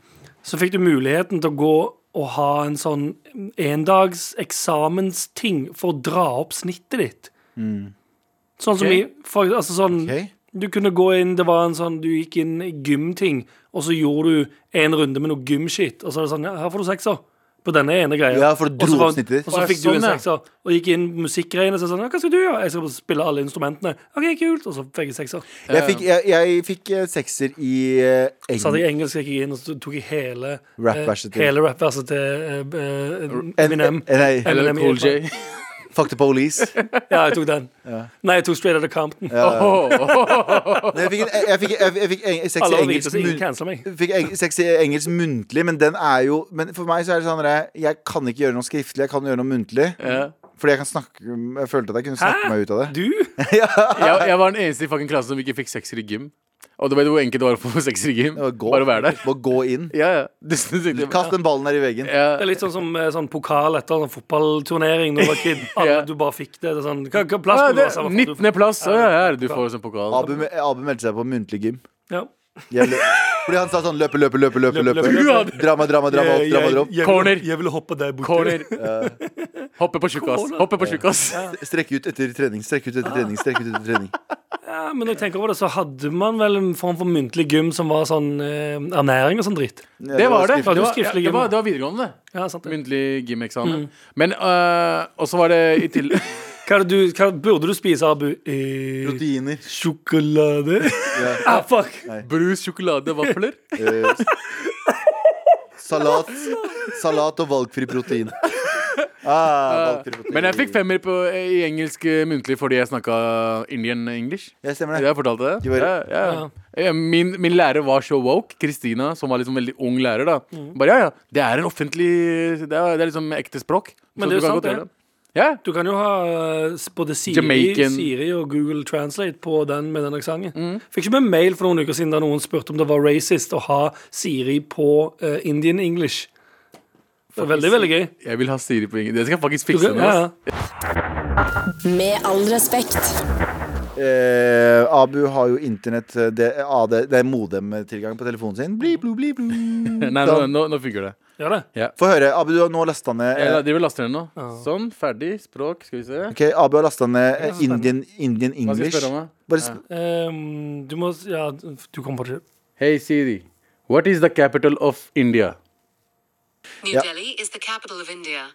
[SPEAKER 3] Så fikk du muligheten til å gå Og ha en sånn Endags eksamensting For å dra opp snittet ditt Sånn som
[SPEAKER 2] Mm. Ok.
[SPEAKER 3] i for, Altså sånn
[SPEAKER 4] Ok.
[SPEAKER 3] Du kunne gå inn Det var en sånn Du gikk inn i gymting Og så gjorde du en runde med noe gymshit Og så er det sånn Ja, her får du sekser på denne ene greia
[SPEAKER 4] Ja, for du
[SPEAKER 3] Og så
[SPEAKER 4] dro
[SPEAKER 3] var-
[SPEAKER 4] opp snittet ditt.
[SPEAKER 3] Og så
[SPEAKER 2] Å, ja,
[SPEAKER 3] fikk du en
[SPEAKER 2] sånn, ja.
[SPEAKER 3] sekser og gikk inn på musikkgreiene og så sånn, «Ja, hva skal du gjøre? Jeg skal bare spille alle instrumentene. Ok, kult. Og så fikk jeg sekser.
[SPEAKER 4] Jeg fikk, jeg, jeg fikk eh, sekser i eh,
[SPEAKER 3] Så
[SPEAKER 4] eng...
[SPEAKER 3] hadde jeg engelsk, gikk jeg inn, og så tok jeg hele
[SPEAKER 4] Rap-verset til-
[SPEAKER 3] til Hele rap-verset til eh, eh,
[SPEAKER 4] En-
[SPEAKER 3] Eminem.
[SPEAKER 4] eh, Nei,
[SPEAKER 2] Eller
[SPEAKER 3] Eminem i
[SPEAKER 2] Cool
[SPEAKER 3] Japan.
[SPEAKER 2] J.
[SPEAKER 4] fuck the police.
[SPEAKER 3] Ja, jeg tok den. Nei, jeg tok Straight Outta Compton.
[SPEAKER 4] Men jeg fikk, en- jeg fikk, jeg, jeg fikk eng- seks i
[SPEAKER 3] Alle var hvite,
[SPEAKER 4] engelsk
[SPEAKER 3] så ingen
[SPEAKER 4] mun-
[SPEAKER 3] cancela meg.
[SPEAKER 4] Fikk eng, seks i engelsk muntlig, men den er jo Men for meg så er det sånn at jeg kan ikke gjøre noe skriftlig, jeg kan gjøre noe muntlig.
[SPEAKER 2] Ja.
[SPEAKER 4] Fordi jeg kan snakke Jeg følte at jeg kunne snakke
[SPEAKER 3] Hæ?
[SPEAKER 4] meg ut av det.
[SPEAKER 3] Du?
[SPEAKER 2] jeg, jeg var den eneste i fucking klassen som ikke fikk sekser i gym. Og du vet hvor enkelt det var å få sekser i gym?
[SPEAKER 4] Det var gå.
[SPEAKER 2] Bare å være der.
[SPEAKER 4] Bare gå inn.
[SPEAKER 2] Ja, ja. Du synes ikke det-
[SPEAKER 4] Kast den ballen der i veggen.
[SPEAKER 3] Det
[SPEAKER 2] ja.
[SPEAKER 3] er litt sånn som eh, sånn pokal etter en sånn fotballturnering da du var kid. Alle,
[SPEAKER 2] Ja.
[SPEAKER 3] Du bare fikk det. det er sånn, hva, hva plass
[SPEAKER 2] Ja,
[SPEAKER 3] må du
[SPEAKER 2] det,
[SPEAKER 3] ha? samme faen, du-
[SPEAKER 2] 19. plass. Å, ja, ja, du får sånn pokal.
[SPEAKER 4] Abu, Abu meldte seg på muntlig gym.
[SPEAKER 3] Ja.
[SPEAKER 4] Jeg lø- Fordi han sa sånn løpe, løpe, løpe, løpe.
[SPEAKER 3] Løpe,
[SPEAKER 4] løpe,
[SPEAKER 3] løpe,
[SPEAKER 2] løpe.
[SPEAKER 4] Drama, drama, drama, opp, drama, drama.
[SPEAKER 3] Eh, jeg,
[SPEAKER 2] Corner.
[SPEAKER 3] jeg ville hoppe der borte.
[SPEAKER 2] Corner. Hoppe på tjukkas. Hoppe på tjukkas.
[SPEAKER 4] Strekke ut etter trening, strekke ut etter trening. strekke ut etter trening
[SPEAKER 3] Ja, men når jeg tenker over det, så hadde man vel en form for muntlig gym som var sånn eh, ernæring og sånn dritt.
[SPEAKER 4] Ja,
[SPEAKER 2] Det var det.
[SPEAKER 4] skrift.
[SPEAKER 2] Det var,
[SPEAKER 3] skriftlig
[SPEAKER 2] ja, det
[SPEAKER 3] gym,
[SPEAKER 2] var,
[SPEAKER 3] da.
[SPEAKER 2] det var videregående, det.
[SPEAKER 3] Ja, Mm. sant det.
[SPEAKER 2] Muntlig gymeksamen. Men øh, Og så var det i tillegg
[SPEAKER 3] Hva, er det du, hva burde du spise, Abu? Eh,
[SPEAKER 4] Proteiner.
[SPEAKER 3] sjokolade?
[SPEAKER 4] Ja.
[SPEAKER 3] ah, fuck!
[SPEAKER 2] brus, sjokolade, vafler.
[SPEAKER 4] Eh, salat. Salat og valgfri protein. Ah, valgte du på
[SPEAKER 2] Men jeg
[SPEAKER 4] tid.
[SPEAKER 2] fikk femmer på, i engelsk eh, muntlig fordi jeg snakka Indian English.
[SPEAKER 4] Ja, stemmer det.
[SPEAKER 2] Jeg fortalte det.
[SPEAKER 4] Du var-
[SPEAKER 2] ja, ja. Ja, Min, min lærer var så woke. Kristina, som var liksom veldig ung lærer, da.
[SPEAKER 3] Mm.
[SPEAKER 2] Bare ja, ja. Det er en offentlig Det er, det er liksom ekte språk.
[SPEAKER 3] Men
[SPEAKER 2] så
[SPEAKER 3] det er
[SPEAKER 2] du kan
[SPEAKER 3] jo sant,
[SPEAKER 2] godt gjøre
[SPEAKER 3] det.
[SPEAKER 2] Ja.
[SPEAKER 3] Du kan jo ha eh, s- både Siri,
[SPEAKER 2] Jamaican. Mm.
[SPEAKER 3] Siri og Google Translate på den med den aksenten. Fikk ikke med mail for noen uker siden da noen spurte om det var racist å ha Siri på eh, Indian English. For veldig, veldig gøy.
[SPEAKER 2] Jeg vil ha Siri på engelsk. Det skal jeg faktisk
[SPEAKER 3] Du
[SPEAKER 2] fikse
[SPEAKER 3] kan,
[SPEAKER 2] nå.
[SPEAKER 3] ja,
[SPEAKER 2] ass.
[SPEAKER 3] ja.
[SPEAKER 5] Med all respekt.
[SPEAKER 4] Eh, Abu har jo internett eh, Det, AD, det er modem-tilgang på telefonen sin. Bli, blu, bli, blu.
[SPEAKER 2] Nei, nå, nå, nå funker det.
[SPEAKER 3] Gjør det.
[SPEAKER 4] Få høre. Abu, du har nå lasta ned eh,
[SPEAKER 2] Jeg, de vil laste den nå. Sånn, ferdig. Språk, skal vi se.
[SPEAKER 4] Ok, Abu har lasta ned eh, Indian,
[SPEAKER 2] Hva
[SPEAKER 4] Indian
[SPEAKER 2] skal jeg
[SPEAKER 4] English.
[SPEAKER 2] spørre om? da?
[SPEAKER 4] Bare sp
[SPEAKER 3] Ehm, du må Ja, du kommer på det.
[SPEAKER 2] Hey Siri, what is the capital of India?
[SPEAKER 6] New
[SPEAKER 4] Yeah.
[SPEAKER 6] Delhi is the capital of India.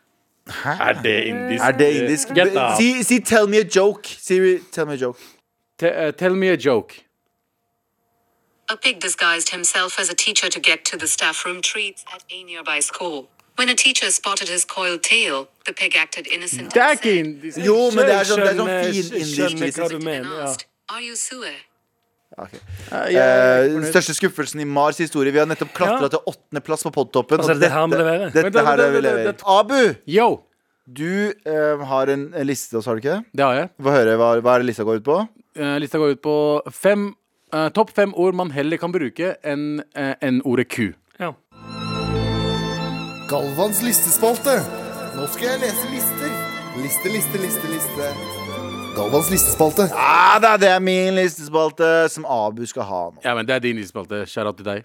[SPEAKER 2] Er det indisk?
[SPEAKER 4] er det indisk?
[SPEAKER 2] Get out.
[SPEAKER 4] Si, si 'tell me a joke'. Siri, tell me a joke.
[SPEAKER 2] Te- uh, tell me a joke.
[SPEAKER 6] A pig disguised himself as a teacher to get to the staff room treats at a nearby school. When a teacher spotted his coiled tail, the pig acted innocent
[SPEAKER 2] Det er
[SPEAKER 6] and
[SPEAKER 2] ikke
[SPEAKER 6] said,
[SPEAKER 2] indisk.
[SPEAKER 4] Jo, men det er sånn, det er sånn
[SPEAKER 3] Skjønner-
[SPEAKER 4] fin indisk.
[SPEAKER 3] skjønner hva
[SPEAKER 4] liksom.
[SPEAKER 3] du
[SPEAKER 6] and
[SPEAKER 3] mener. Ja.
[SPEAKER 6] asked, Are you sewer?
[SPEAKER 4] Ok.
[SPEAKER 2] Ja,
[SPEAKER 4] Eh,
[SPEAKER 2] jeg er ikke
[SPEAKER 4] den
[SPEAKER 2] fornøyd.
[SPEAKER 4] største skuffelsen i Mars historie. Vi har nettopp klatra
[SPEAKER 3] Ja.
[SPEAKER 4] til åttendeplass på Podtoppen.
[SPEAKER 3] Altså,
[SPEAKER 4] og
[SPEAKER 3] det er det her vi leverer.
[SPEAKER 4] dette
[SPEAKER 2] Men det-
[SPEAKER 4] her er
[SPEAKER 2] det-
[SPEAKER 4] vi
[SPEAKER 2] det-
[SPEAKER 4] leverer.
[SPEAKER 2] det-
[SPEAKER 4] Abu,
[SPEAKER 2] Yo,
[SPEAKER 4] du eh, har en en liste til oss, har du ikke det?
[SPEAKER 2] det har jeg.
[SPEAKER 4] Få høre hva, hva er det lista går ut på.
[SPEAKER 2] Eh, lista går ut på fem eh, topp fem ord man heller kan bruke enn eh, enn ordet ku.
[SPEAKER 3] Ja.
[SPEAKER 7] Galvans listespalte. Nå skal jeg lese lister. Liste, liste, liste, liste. Galvans listespalte.
[SPEAKER 4] Ah, da, det er min listespalte som Abu skal ha nå.
[SPEAKER 2] Ja, men det er din listespalte. Skjæra til deg.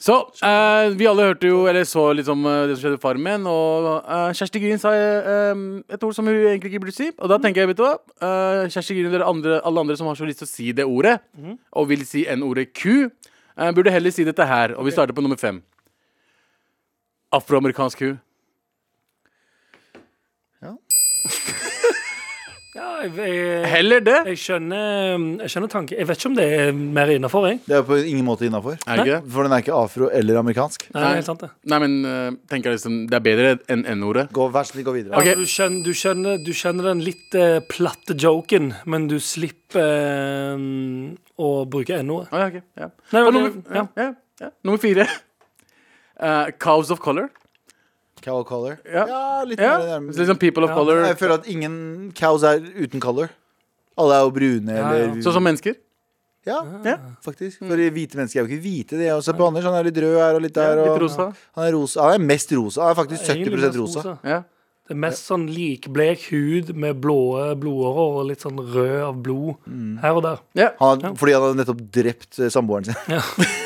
[SPEAKER 2] Så eh, vi alle hørte jo, eller så liksom eh, det som skjedde i Farmen, og eh, Kjersti Gryn sa eh, em, et ord som hun egentlig ikke burde si. Og da tenker jeg, vet du hva, eh, Kjersti Gryn og dere andre, alle andre som har så lyst til å si det ordet, og vil si n-ordet ku, eh, burde heller si dette her. Og vi starter på nummer fem. Afroamerikansk ku.
[SPEAKER 3] ja jeg, jeg,
[SPEAKER 2] Heller det.
[SPEAKER 3] jeg skjønner Jeg skjønner tanken. Jeg vet ikke om det er mer innafor, jeg.
[SPEAKER 4] Det er på ingen måte innafor.
[SPEAKER 2] Er det ikke det?
[SPEAKER 4] For den er ikke afro eller amerikansk.
[SPEAKER 3] Nei, det er helt sant, det.
[SPEAKER 2] Nei, men eh, tenker jeg liksom, det er bedre enn n-ordet.
[SPEAKER 4] Gå, vær så snill, gå videre.
[SPEAKER 3] Ja, for du, skjønner, du, skjønner, du skjønner den litt eh, platte joken, men du slipper eh, å bruke n-ordet.
[SPEAKER 2] Å, ja, ok, ja. Og
[SPEAKER 3] Nei, men
[SPEAKER 2] nummer,
[SPEAKER 3] det-
[SPEAKER 2] ja, ja, ja. nummer fire. Eh, cows of color.
[SPEAKER 4] Cow color.
[SPEAKER 2] Ja.
[SPEAKER 4] litt
[SPEAKER 2] Ja.
[SPEAKER 4] mer
[SPEAKER 2] Så
[SPEAKER 4] nærmere.
[SPEAKER 2] liksom people of color.
[SPEAKER 4] Jeg føler at ingen cows er uten color. Alle er jo brune
[SPEAKER 3] Ja, ja.
[SPEAKER 4] eller
[SPEAKER 2] Sånn som mennesker.
[SPEAKER 4] ja,
[SPEAKER 2] Ja. Mm.
[SPEAKER 4] faktisk. For hvite mennesker er jo ikke hvite. De er også på Anders. Han er litt rød her og litt der.
[SPEAKER 2] Litt
[SPEAKER 4] Og
[SPEAKER 2] rosa.
[SPEAKER 4] Han er rosa. Han er mest rosa. Han er faktisk 70
[SPEAKER 3] Egentlig mest
[SPEAKER 4] rosa.
[SPEAKER 2] Ja.
[SPEAKER 3] Det er mest sånn likblek hud med blå blodårer og litt sånn rød av blod
[SPEAKER 4] Mm.
[SPEAKER 3] her og der.
[SPEAKER 2] Ja.
[SPEAKER 4] Han, har- fordi han hadde nettopp drept eh, samboeren sin.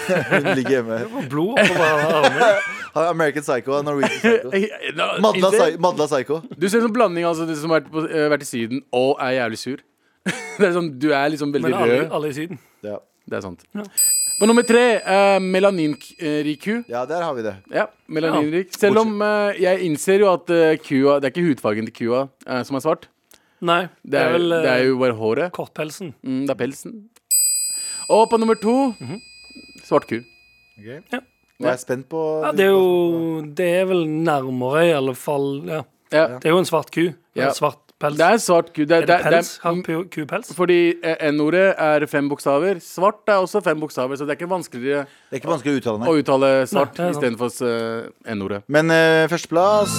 [SPEAKER 4] Hun ligger hjemme.
[SPEAKER 3] Og blod over armene.
[SPEAKER 4] Han er American Psycho. han er Norwegian Psycho.
[SPEAKER 2] Eh, da-
[SPEAKER 4] Madla,
[SPEAKER 2] innser-
[SPEAKER 4] Psy- Madla Psycho.
[SPEAKER 2] Du ser en sånn blanding altså, du som har vært, på, eh, vært i Syden og er jævlig sur. det er sånn, du er liksom veldig
[SPEAKER 3] Men alle,
[SPEAKER 2] rød.
[SPEAKER 3] alle i Syden.
[SPEAKER 4] Ja.
[SPEAKER 2] Det er sant. På nummer tre, eh, melaninrik ku.
[SPEAKER 4] ja, der har vi det.
[SPEAKER 2] Ja, melaninrik. Selv om eh, jeg innser jo at eh, kua Det er ikke hudfargen til kua eh, som er svart.
[SPEAKER 3] Nei,
[SPEAKER 2] Det er,
[SPEAKER 3] vel eh,
[SPEAKER 2] det er jo bare håret.
[SPEAKER 3] kortpelsen.
[SPEAKER 2] Mm, det er pelsen. Og på nummer to
[SPEAKER 3] Mhm.
[SPEAKER 2] svart ku.
[SPEAKER 4] Nå er jeg spent på
[SPEAKER 3] Ja, det er jo Det er vel nærmere, i alle fall. Ja.
[SPEAKER 2] Ja.
[SPEAKER 3] Det er jo en svart ku.
[SPEAKER 2] Ja.
[SPEAKER 3] Ja. Svart pels.
[SPEAKER 2] Det er svart ku. Det,
[SPEAKER 3] er det pels?
[SPEAKER 2] Det
[SPEAKER 3] Har
[SPEAKER 2] er,
[SPEAKER 3] pu- ku pels?
[SPEAKER 2] fordi eh, N-ordet er fem bokstaver. Svart er også fem bokstaver, så det er ikke vanskeligere
[SPEAKER 4] Det er ikke vanskelig å uttale
[SPEAKER 2] å
[SPEAKER 4] den.
[SPEAKER 2] uttale svart
[SPEAKER 3] Nei, det er sant.
[SPEAKER 2] istedenfor eh, N-ordet.
[SPEAKER 4] Men eh, førsteplass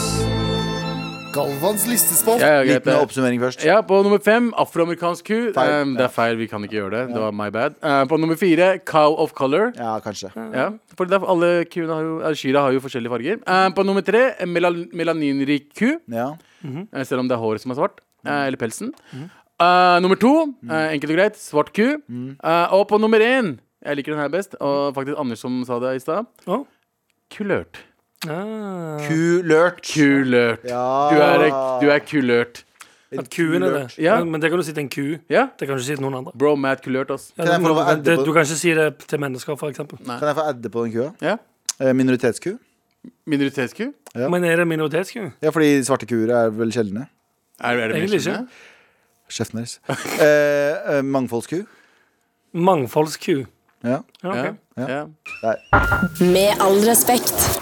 [SPEAKER 7] Galvans listespalte.
[SPEAKER 2] Ja, ja, greit,
[SPEAKER 4] Liten
[SPEAKER 2] det.
[SPEAKER 4] oppsummering først.
[SPEAKER 2] ja, på nummer fem afroamerikansk ku.
[SPEAKER 4] Feil.
[SPEAKER 2] Eh, det er feil, vi kan ikke gjøre det. Det var my bad. Eh, på nummer fire cow of color.
[SPEAKER 4] Ja, kanskje.
[SPEAKER 2] Ja, for det er, alle kuene har jo, eh, kyrne har jo forskjellige farger. Eh, på nummer tre en melan melaninrik ku.
[SPEAKER 4] Ja.
[SPEAKER 2] Eh, Selv om det er håret som er svart. eh,
[SPEAKER 3] Mm.
[SPEAKER 2] Eller pelsen. Eh, nummer to, eh, enkelt og greit, svart ku.
[SPEAKER 3] Mm.
[SPEAKER 2] Eh, og på nummer én, jeg liker den her best, og faktisk Anders som sa det i stad,
[SPEAKER 3] Å.
[SPEAKER 2] kulørt.
[SPEAKER 3] Ah.
[SPEAKER 4] Kulørt.
[SPEAKER 2] Kulørt.
[SPEAKER 4] Ja.
[SPEAKER 2] Du, er, du er kulørt.
[SPEAKER 3] At kuen er det.
[SPEAKER 2] Ja.
[SPEAKER 3] Men, men det kan du si til en ku.
[SPEAKER 2] Ja?
[SPEAKER 3] Det kan du ikke si til noen andre.
[SPEAKER 2] Bro, Matt kulørt, ass.
[SPEAKER 3] Ja,
[SPEAKER 4] Kan jeg få lov å
[SPEAKER 3] men
[SPEAKER 4] adde
[SPEAKER 3] det,
[SPEAKER 4] på-
[SPEAKER 3] du kan ikke si det til mennesker, for eksempel.
[SPEAKER 4] Kan jeg få adde på den kua?
[SPEAKER 2] Ja?
[SPEAKER 4] Eh, Minoritetsku?
[SPEAKER 2] Minoritetsku?
[SPEAKER 4] Ja.
[SPEAKER 3] Men er det minoritetsku?
[SPEAKER 4] Ja, fordi svarte kuer er vel sjeldne.
[SPEAKER 2] Er, er det
[SPEAKER 3] Egentlig
[SPEAKER 2] menneskene?
[SPEAKER 3] ikke.
[SPEAKER 4] Kjeften deres. Eh, eh, mangfoldsku?
[SPEAKER 3] Mangfoldsku.
[SPEAKER 4] Ja.
[SPEAKER 3] Ja, ok.
[SPEAKER 2] Ja. ja.
[SPEAKER 5] Med all respekt.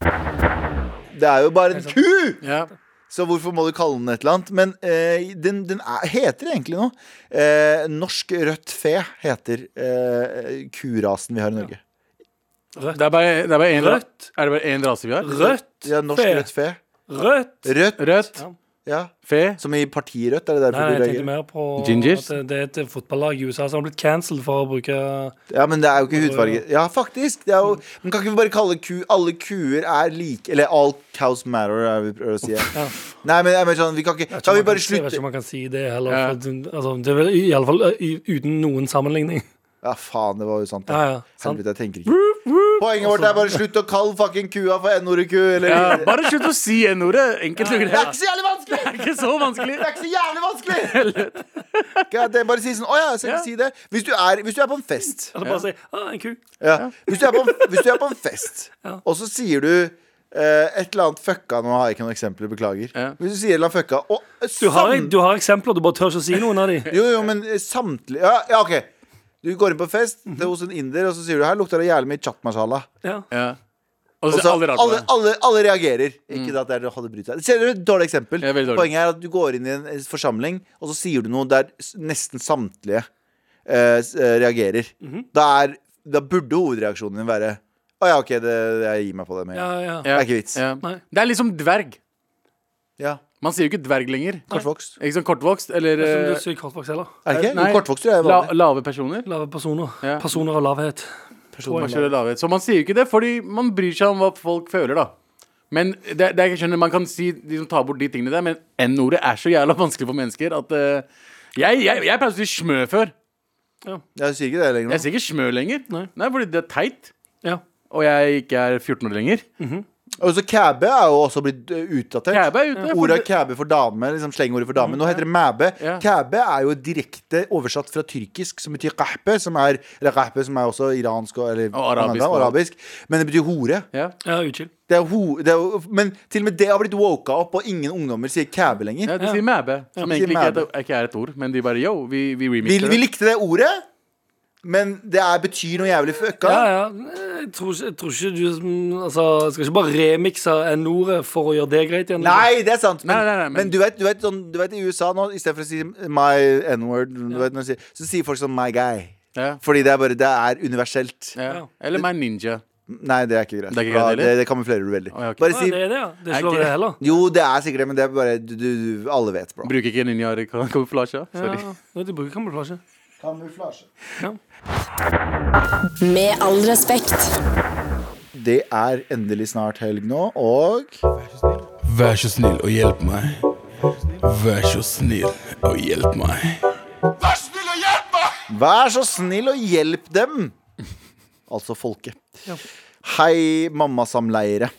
[SPEAKER 4] Det Det er jo bare en ku!
[SPEAKER 2] Ja.
[SPEAKER 4] Så hvorfor må du kalle den et eller annet? Men eh, den, den er, heter egentlig noe. Eh, norsk rødt fe heter eh, kurasen vi har i Norge.
[SPEAKER 2] Det er bare, det er bare en,
[SPEAKER 3] Rødt.
[SPEAKER 2] Er det bare én rase vi har?
[SPEAKER 3] Rødt.
[SPEAKER 4] Ja, norsk
[SPEAKER 3] fe.
[SPEAKER 4] rødt fe.
[SPEAKER 3] Rødt.
[SPEAKER 4] Rødt,
[SPEAKER 2] Rødt,
[SPEAKER 3] Ja.
[SPEAKER 4] ja.
[SPEAKER 2] fe,
[SPEAKER 4] Som i partiet rødt, er det
[SPEAKER 3] Nei,
[SPEAKER 4] derfor
[SPEAKER 3] jeg
[SPEAKER 4] du
[SPEAKER 3] tenkte
[SPEAKER 4] reagerer?
[SPEAKER 3] mer på
[SPEAKER 2] Gingers?
[SPEAKER 3] at det- det er et fotballag i USA som har blitt cancelled for å bruke
[SPEAKER 4] Ja, men det er jo ikke hudfarge. Ja, faktisk. Det er
[SPEAKER 3] Mm.
[SPEAKER 4] jo, men kan ikke vi bare kalle ku Alle kuer er like Eller all cows matter, er vi prøver å si. Nei, men jeg mener sånn, vi kan ikke Kan vi bare
[SPEAKER 3] Jeg
[SPEAKER 4] slutte
[SPEAKER 3] vet ikke om man kan si det heller.
[SPEAKER 2] Ja.
[SPEAKER 3] For, det- altså, det er vel i alle fall eh, i- uten noen sammenligning.
[SPEAKER 4] Ja, faen, det var jo sant. da.
[SPEAKER 3] Ja, ja, sant.
[SPEAKER 4] Helvete, jeg tenker ikke. Poenget vårt er bare slutt å kalle fucking kua for n-ordet ku. Eller
[SPEAKER 2] ja, Bare slutt å si N-ordet. Enkelt og
[SPEAKER 4] Det er
[SPEAKER 2] greit.
[SPEAKER 4] ikke så jævlig vanskelig!
[SPEAKER 2] Det er ikke så vanskelig.
[SPEAKER 4] Det er ikke så jævlig vanskelig! God, damn, bare si sånn Å ja, jeg skal ikke si det. Hvis du er, hvis du er på en fest
[SPEAKER 3] Eller bare si ah, 'en ku'.
[SPEAKER 4] Ja. Hvis, du er på, en- hvis du er på en fest,
[SPEAKER 3] Ja.
[SPEAKER 4] og så sier du eh, et eller annet fucka Nå har jeg ikke noen eksempler, beklager.
[SPEAKER 2] Ja.
[SPEAKER 4] Hvis du sier et eller annet fucka og eh,
[SPEAKER 3] Du har,
[SPEAKER 4] sam-
[SPEAKER 3] du har eksempler, du bare tør ikke å si noen av de.
[SPEAKER 4] Jo, jo, men eh, samtlige ja, ja, OK. Du går inn på fest det er hos en inder, og så sier du her lukter det jævlig mye chat masala.
[SPEAKER 3] Ja.
[SPEAKER 2] Ja. Og
[SPEAKER 4] Og
[SPEAKER 2] så
[SPEAKER 4] så
[SPEAKER 2] er alle
[SPEAKER 4] alle,
[SPEAKER 2] rart på
[SPEAKER 4] alle,
[SPEAKER 2] det. Mm.
[SPEAKER 4] alle, reagerer. Ikke at det er å holde bryt seg. Ser du et dårlig eksempel?
[SPEAKER 2] Ja, veldig dårlig.
[SPEAKER 4] Poenget er at du går inn i en eh, forsamling, og så sier du noe der s- nesten samtlige eh, s- eh, reagerer.
[SPEAKER 2] Mhm.
[SPEAKER 4] da, er, da burde hovedreaksjonen din være Å ja, OK, det, jeg gir meg på det med en
[SPEAKER 3] Ja,
[SPEAKER 4] gang.
[SPEAKER 3] ja.
[SPEAKER 2] Ja.
[SPEAKER 4] Det er ikke vits.
[SPEAKER 2] Ja.
[SPEAKER 3] Nei.
[SPEAKER 2] Det er liksom dverg.
[SPEAKER 4] Ja.
[SPEAKER 2] Man sier jo ikke dverg lenger.
[SPEAKER 4] Kortvokst.
[SPEAKER 2] Ikke sånn kortvokst eller
[SPEAKER 3] Som
[SPEAKER 2] eh,
[SPEAKER 3] du er sykt kortvokst heller.
[SPEAKER 4] Er det ikke?
[SPEAKER 2] Nei.
[SPEAKER 4] Jo, kortvokst tror jeg er
[SPEAKER 2] la,
[SPEAKER 4] vanlig.
[SPEAKER 2] lave personer.
[SPEAKER 3] Lave personer.
[SPEAKER 2] Ja.
[SPEAKER 3] Personer av lavhet.
[SPEAKER 2] Man skjønner lavhet. Så man sier jo ikke det, fordi man bryr seg om hva folk føler, da. Men det, det jeg skjønner, man kan si de som tar bort de tingene der, men N-ordet er så jævla vanskelig for mennesker at eh, jeg, jeg, jeg pleier å si smø før.
[SPEAKER 4] Jeg sier ikke det lenger nå.
[SPEAKER 2] Jeg sier ikke smø lenger.
[SPEAKER 3] Nei.
[SPEAKER 2] fordi det er teit.
[SPEAKER 3] Ja.
[SPEAKER 2] Og jeg ikke er 14 år lenger.
[SPEAKER 4] Og så cabbe er jo også blitt eh, utdatert. Mm.
[SPEAKER 2] Kæbe er ute. for
[SPEAKER 4] Ordet
[SPEAKER 2] det- Mm.
[SPEAKER 4] kæbe for dame, liksom slengordet for dame. Nå heter det mæbe.
[SPEAKER 2] Ja.
[SPEAKER 4] Kæbe er jo direkte oversatt fra tyrkisk, som betyr kahpe, som er, eller kahpe, som er også iransk og, eller,
[SPEAKER 2] Og arabisk,
[SPEAKER 4] og
[SPEAKER 2] og-
[SPEAKER 4] arabisk. Men det betyr hore.
[SPEAKER 2] ja.
[SPEAKER 3] ja, utskill.
[SPEAKER 4] Det er ho, det er, jo- men til og med det har blitt woka opp, og ingen ungdommer sier kæbe lenger.
[SPEAKER 2] ja, de sier mæbe, som
[SPEAKER 4] de sier
[SPEAKER 2] egentlig ikke er,
[SPEAKER 4] mæbe.
[SPEAKER 2] et- ikke er et ord. Men de bare yo, vi, vi
[SPEAKER 4] Vi,
[SPEAKER 2] remixer
[SPEAKER 4] vi
[SPEAKER 2] det.
[SPEAKER 4] likte det ordet, men det er, betyr noe jævlig fucka.
[SPEAKER 3] Ja, ja. Jeg tror, ikke- jeg tror ikke du som- altså, jeg Skal ikke bare remikse N-ordet for å gjøre det greit igjen. liksom.
[SPEAKER 4] Nei, det er sant. Men,
[SPEAKER 2] Nei, nei, nei,
[SPEAKER 4] men,
[SPEAKER 2] men-
[SPEAKER 4] du vet, du vet, sånn, du vet i USA nå, istedenfor å si my n-word, du vet når du sier- så sier folk sånn my guy.
[SPEAKER 2] Ja.
[SPEAKER 4] Fordi det er bare, det er universelt.
[SPEAKER 2] Ja. Eller meg ninja.
[SPEAKER 4] Nei, det er ikke greit.
[SPEAKER 2] Det er ikke greit
[SPEAKER 4] Ja,
[SPEAKER 2] heller?
[SPEAKER 4] det, det kamuflerer du veldig.
[SPEAKER 2] Å, ja, ok.
[SPEAKER 4] Bare
[SPEAKER 3] Ja,
[SPEAKER 4] si
[SPEAKER 3] det er det, ja. Det er
[SPEAKER 2] Er
[SPEAKER 3] ikke lov
[SPEAKER 2] ikke-
[SPEAKER 3] det heller.
[SPEAKER 4] Jo, det er sikkert det, men det er bare du, du, du, Alle vet, bro.
[SPEAKER 2] Bruker ikke ninja-kamuflasje. Sorry.
[SPEAKER 3] Ja, ja. de bruker kamuflasje.
[SPEAKER 5] Med all respekt.
[SPEAKER 4] Det er endelig snart helg nå, og
[SPEAKER 8] Vær så snill og hjelp meg. Vær så snill og hjelp meg.
[SPEAKER 4] vær så snill og hjelp dem! Altså folket. Hei, mammasamleiere.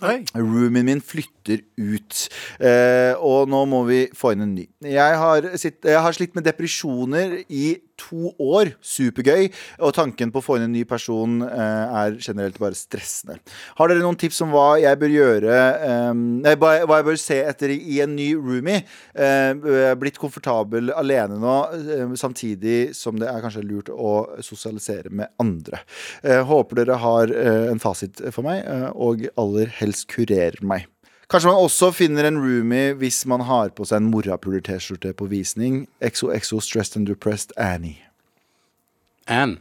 [SPEAKER 2] Hei.
[SPEAKER 4] Roomien min flytter ut, eh, og nå må vi få inn en ny. Jeg har, sitt, jeg har slitt med depresjoner i to år. Supergøy. Og tanken på å få inn en ny person eh, er generelt bare stressende. Har dere noen tips om hva jeg bør gjøre eh, nei, hva hva jeg bør se etter i, i en ny roomie? Eh, jeg er blitt komfortabel alene nå, eh, samtidig som det er kanskje lurt å sosialisere med andre. Eh, håper dere har eh, en fasit for meg, eh, og aller helst kurerer meg. Kanskje man også finner en roomie hvis man har på seg en morapuler-T-skjorte på visning. XOXO Stressed and Depressed Annie.
[SPEAKER 2] Ann.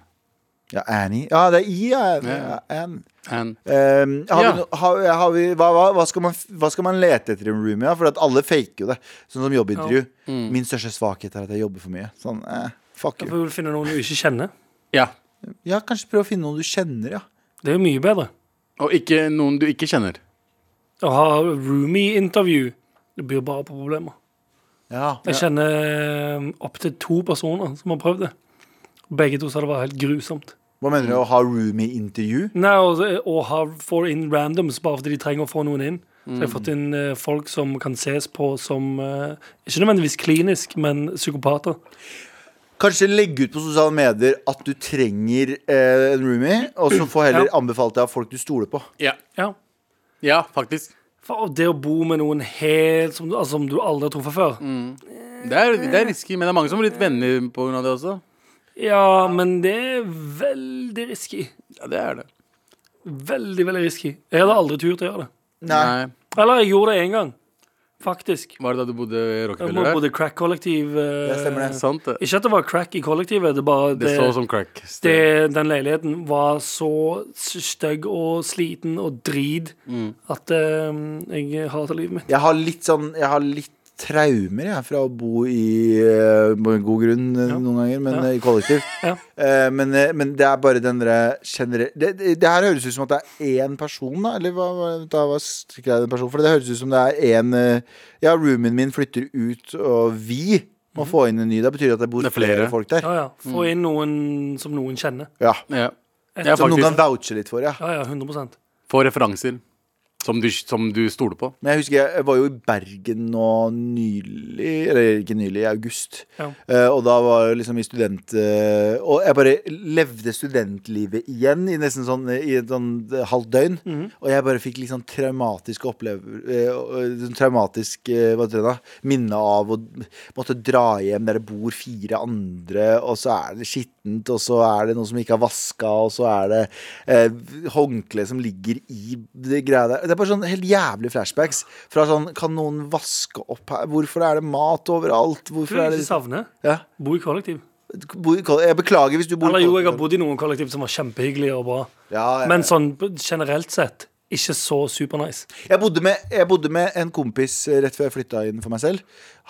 [SPEAKER 4] Ja, Annie. Ja, det er I, ja. ja.
[SPEAKER 2] Ja.
[SPEAKER 4] Ann.
[SPEAKER 2] Ann.
[SPEAKER 4] Ehm, har
[SPEAKER 2] Ja.
[SPEAKER 4] vi, no- har, har vi, hva, hva, hva, skal man, hva skal man lete etter i en roomie? da? For at alle faker jo det. Sånn som jobbintervju. Min største svakhet er at jeg jobber for mye. Sånn, eh, fuck
[SPEAKER 3] Jeg
[SPEAKER 4] you.
[SPEAKER 3] vil finne noen du ikke kjenner.
[SPEAKER 2] Ja.
[SPEAKER 4] Ja, Kanskje prøve å finne noen du kjenner, ja.
[SPEAKER 3] Det er jo mye bedre.
[SPEAKER 2] Og ikke noen du ikke kjenner.
[SPEAKER 3] Å ha roomie-intervju Det byr bare på problemer.
[SPEAKER 4] ja.
[SPEAKER 3] Jeg kjenner opptil to personer som har prøvd det. Begge to sa det var helt grusomt.
[SPEAKER 4] Hva mener du? Å ha roomie-intervju?
[SPEAKER 3] Nei, og, og har få inn randoms bare fordi de trenger å få noen inn. Så jeg har
[SPEAKER 2] Mm.
[SPEAKER 3] fått inn eh, folk som kan ses på som eh, Ikke nødvendigvis klinisk, men psykopater.
[SPEAKER 4] Kanskje legge ut på sosiale medier at du trenger eh, en roomie, og så få heller
[SPEAKER 3] Ja.
[SPEAKER 4] anbefalt deg av folk du stoler på.
[SPEAKER 2] Ja.
[SPEAKER 3] Ja.
[SPEAKER 2] Ja, faktisk.
[SPEAKER 3] For det å bo med noen helt som, altså, som du aldri har truffet før
[SPEAKER 2] Mm. Det er, det er risky, men det er mange som blir litt venner på grunn av det også.
[SPEAKER 3] Ja, men det er veldig risky.
[SPEAKER 2] Ja, det er det.
[SPEAKER 3] Veldig, veldig risky. Jeg hadde aldri turt å gjøre det.
[SPEAKER 4] Nei.
[SPEAKER 2] Nei.
[SPEAKER 3] Eller jeg gjorde det én gang, faktisk.
[SPEAKER 2] Var det da du bodde i
[SPEAKER 3] Jeg må
[SPEAKER 2] Rockefeller?
[SPEAKER 3] bodde crack-kollektiv. eh,
[SPEAKER 4] Det stemmer det.
[SPEAKER 2] Sant det.
[SPEAKER 3] Ikke at det var crack i kollektivet, det bare
[SPEAKER 2] Det
[SPEAKER 3] det,
[SPEAKER 2] så som crack.
[SPEAKER 3] det, Den leiligheten var så stygg og sliten og drit
[SPEAKER 2] Mm.
[SPEAKER 3] at eh, jeg hater livet mitt.
[SPEAKER 4] Jeg har litt sånn Jeg har litt traumer jeg, fra å bo i eh, på en god grunn eh, noen ganger, men eh, i kollektiv.
[SPEAKER 3] Ja.
[SPEAKER 4] Eh, men, eh, men det er bare den derre generelle det, det, det her høres ut som at det er én person, da. Eller hva, hva- da, hva strikker jeg den personen for? Det høres ut som det er én eh, Ja, roomien min flytter ut, og vi må få inn en ny. Det betyr at det bor
[SPEAKER 2] Det er
[SPEAKER 4] flere.
[SPEAKER 2] flere.
[SPEAKER 4] folk der.
[SPEAKER 3] Ja, ja.
[SPEAKER 2] Mm.
[SPEAKER 3] Få inn noen som noen kjenner.
[SPEAKER 4] Ja.
[SPEAKER 2] Ja. Jeg er
[SPEAKER 4] Som noen kan
[SPEAKER 2] faktisk
[SPEAKER 4] vouche litt for, ja.
[SPEAKER 3] Ja, ja, 100
[SPEAKER 2] får referanser som du, som du stoler på.
[SPEAKER 4] Men jeg husker jeg- jeg var jo i Bergen nå nylig, eller ikke nylig, i august.
[SPEAKER 3] Ja.
[SPEAKER 4] Eh, og da var jeg liksom i student... eh, og jeg bare levde studentlivet igjen i nesten sånn i et sånn halvt døgn. Og jeg bare fikk liksom traumatiske opplevelser sånn Traumatisk eh, hva heter det da? minne av å måtte dra hjem der det bor fire andre, og så er det skittent, og så er det noen som ikke har vaska, og så er det eh, håndkle som ligger i det greia der. Det er bare sånn helt jævlig flashbacks. Fra sånn Kan noen vaske opp her? Hvorfor er det mat overalt? Hvorfor
[SPEAKER 3] Tror
[SPEAKER 4] er
[SPEAKER 3] du
[SPEAKER 4] det
[SPEAKER 3] Mm, ikke savner?
[SPEAKER 4] ja.
[SPEAKER 3] Bo i kollektiv.
[SPEAKER 4] Bo i koll- Jeg beklager hvis du bor i
[SPEAKER 3] Eller jo, jeg har
[SPEAKER 4] kollektiv.
[SPEAKER 3] bodd i noen kollektiv som var kjempehyggelige og bra.
[SPEAKER 4] ja, jeg,
[SPEAKER 3] Men sånn generelt sett ikke så supernice.
[SPEAKER 4] jeg, bodde med, jeg bodde med en kompis eh, rett før jeg flytta inn for meg selv.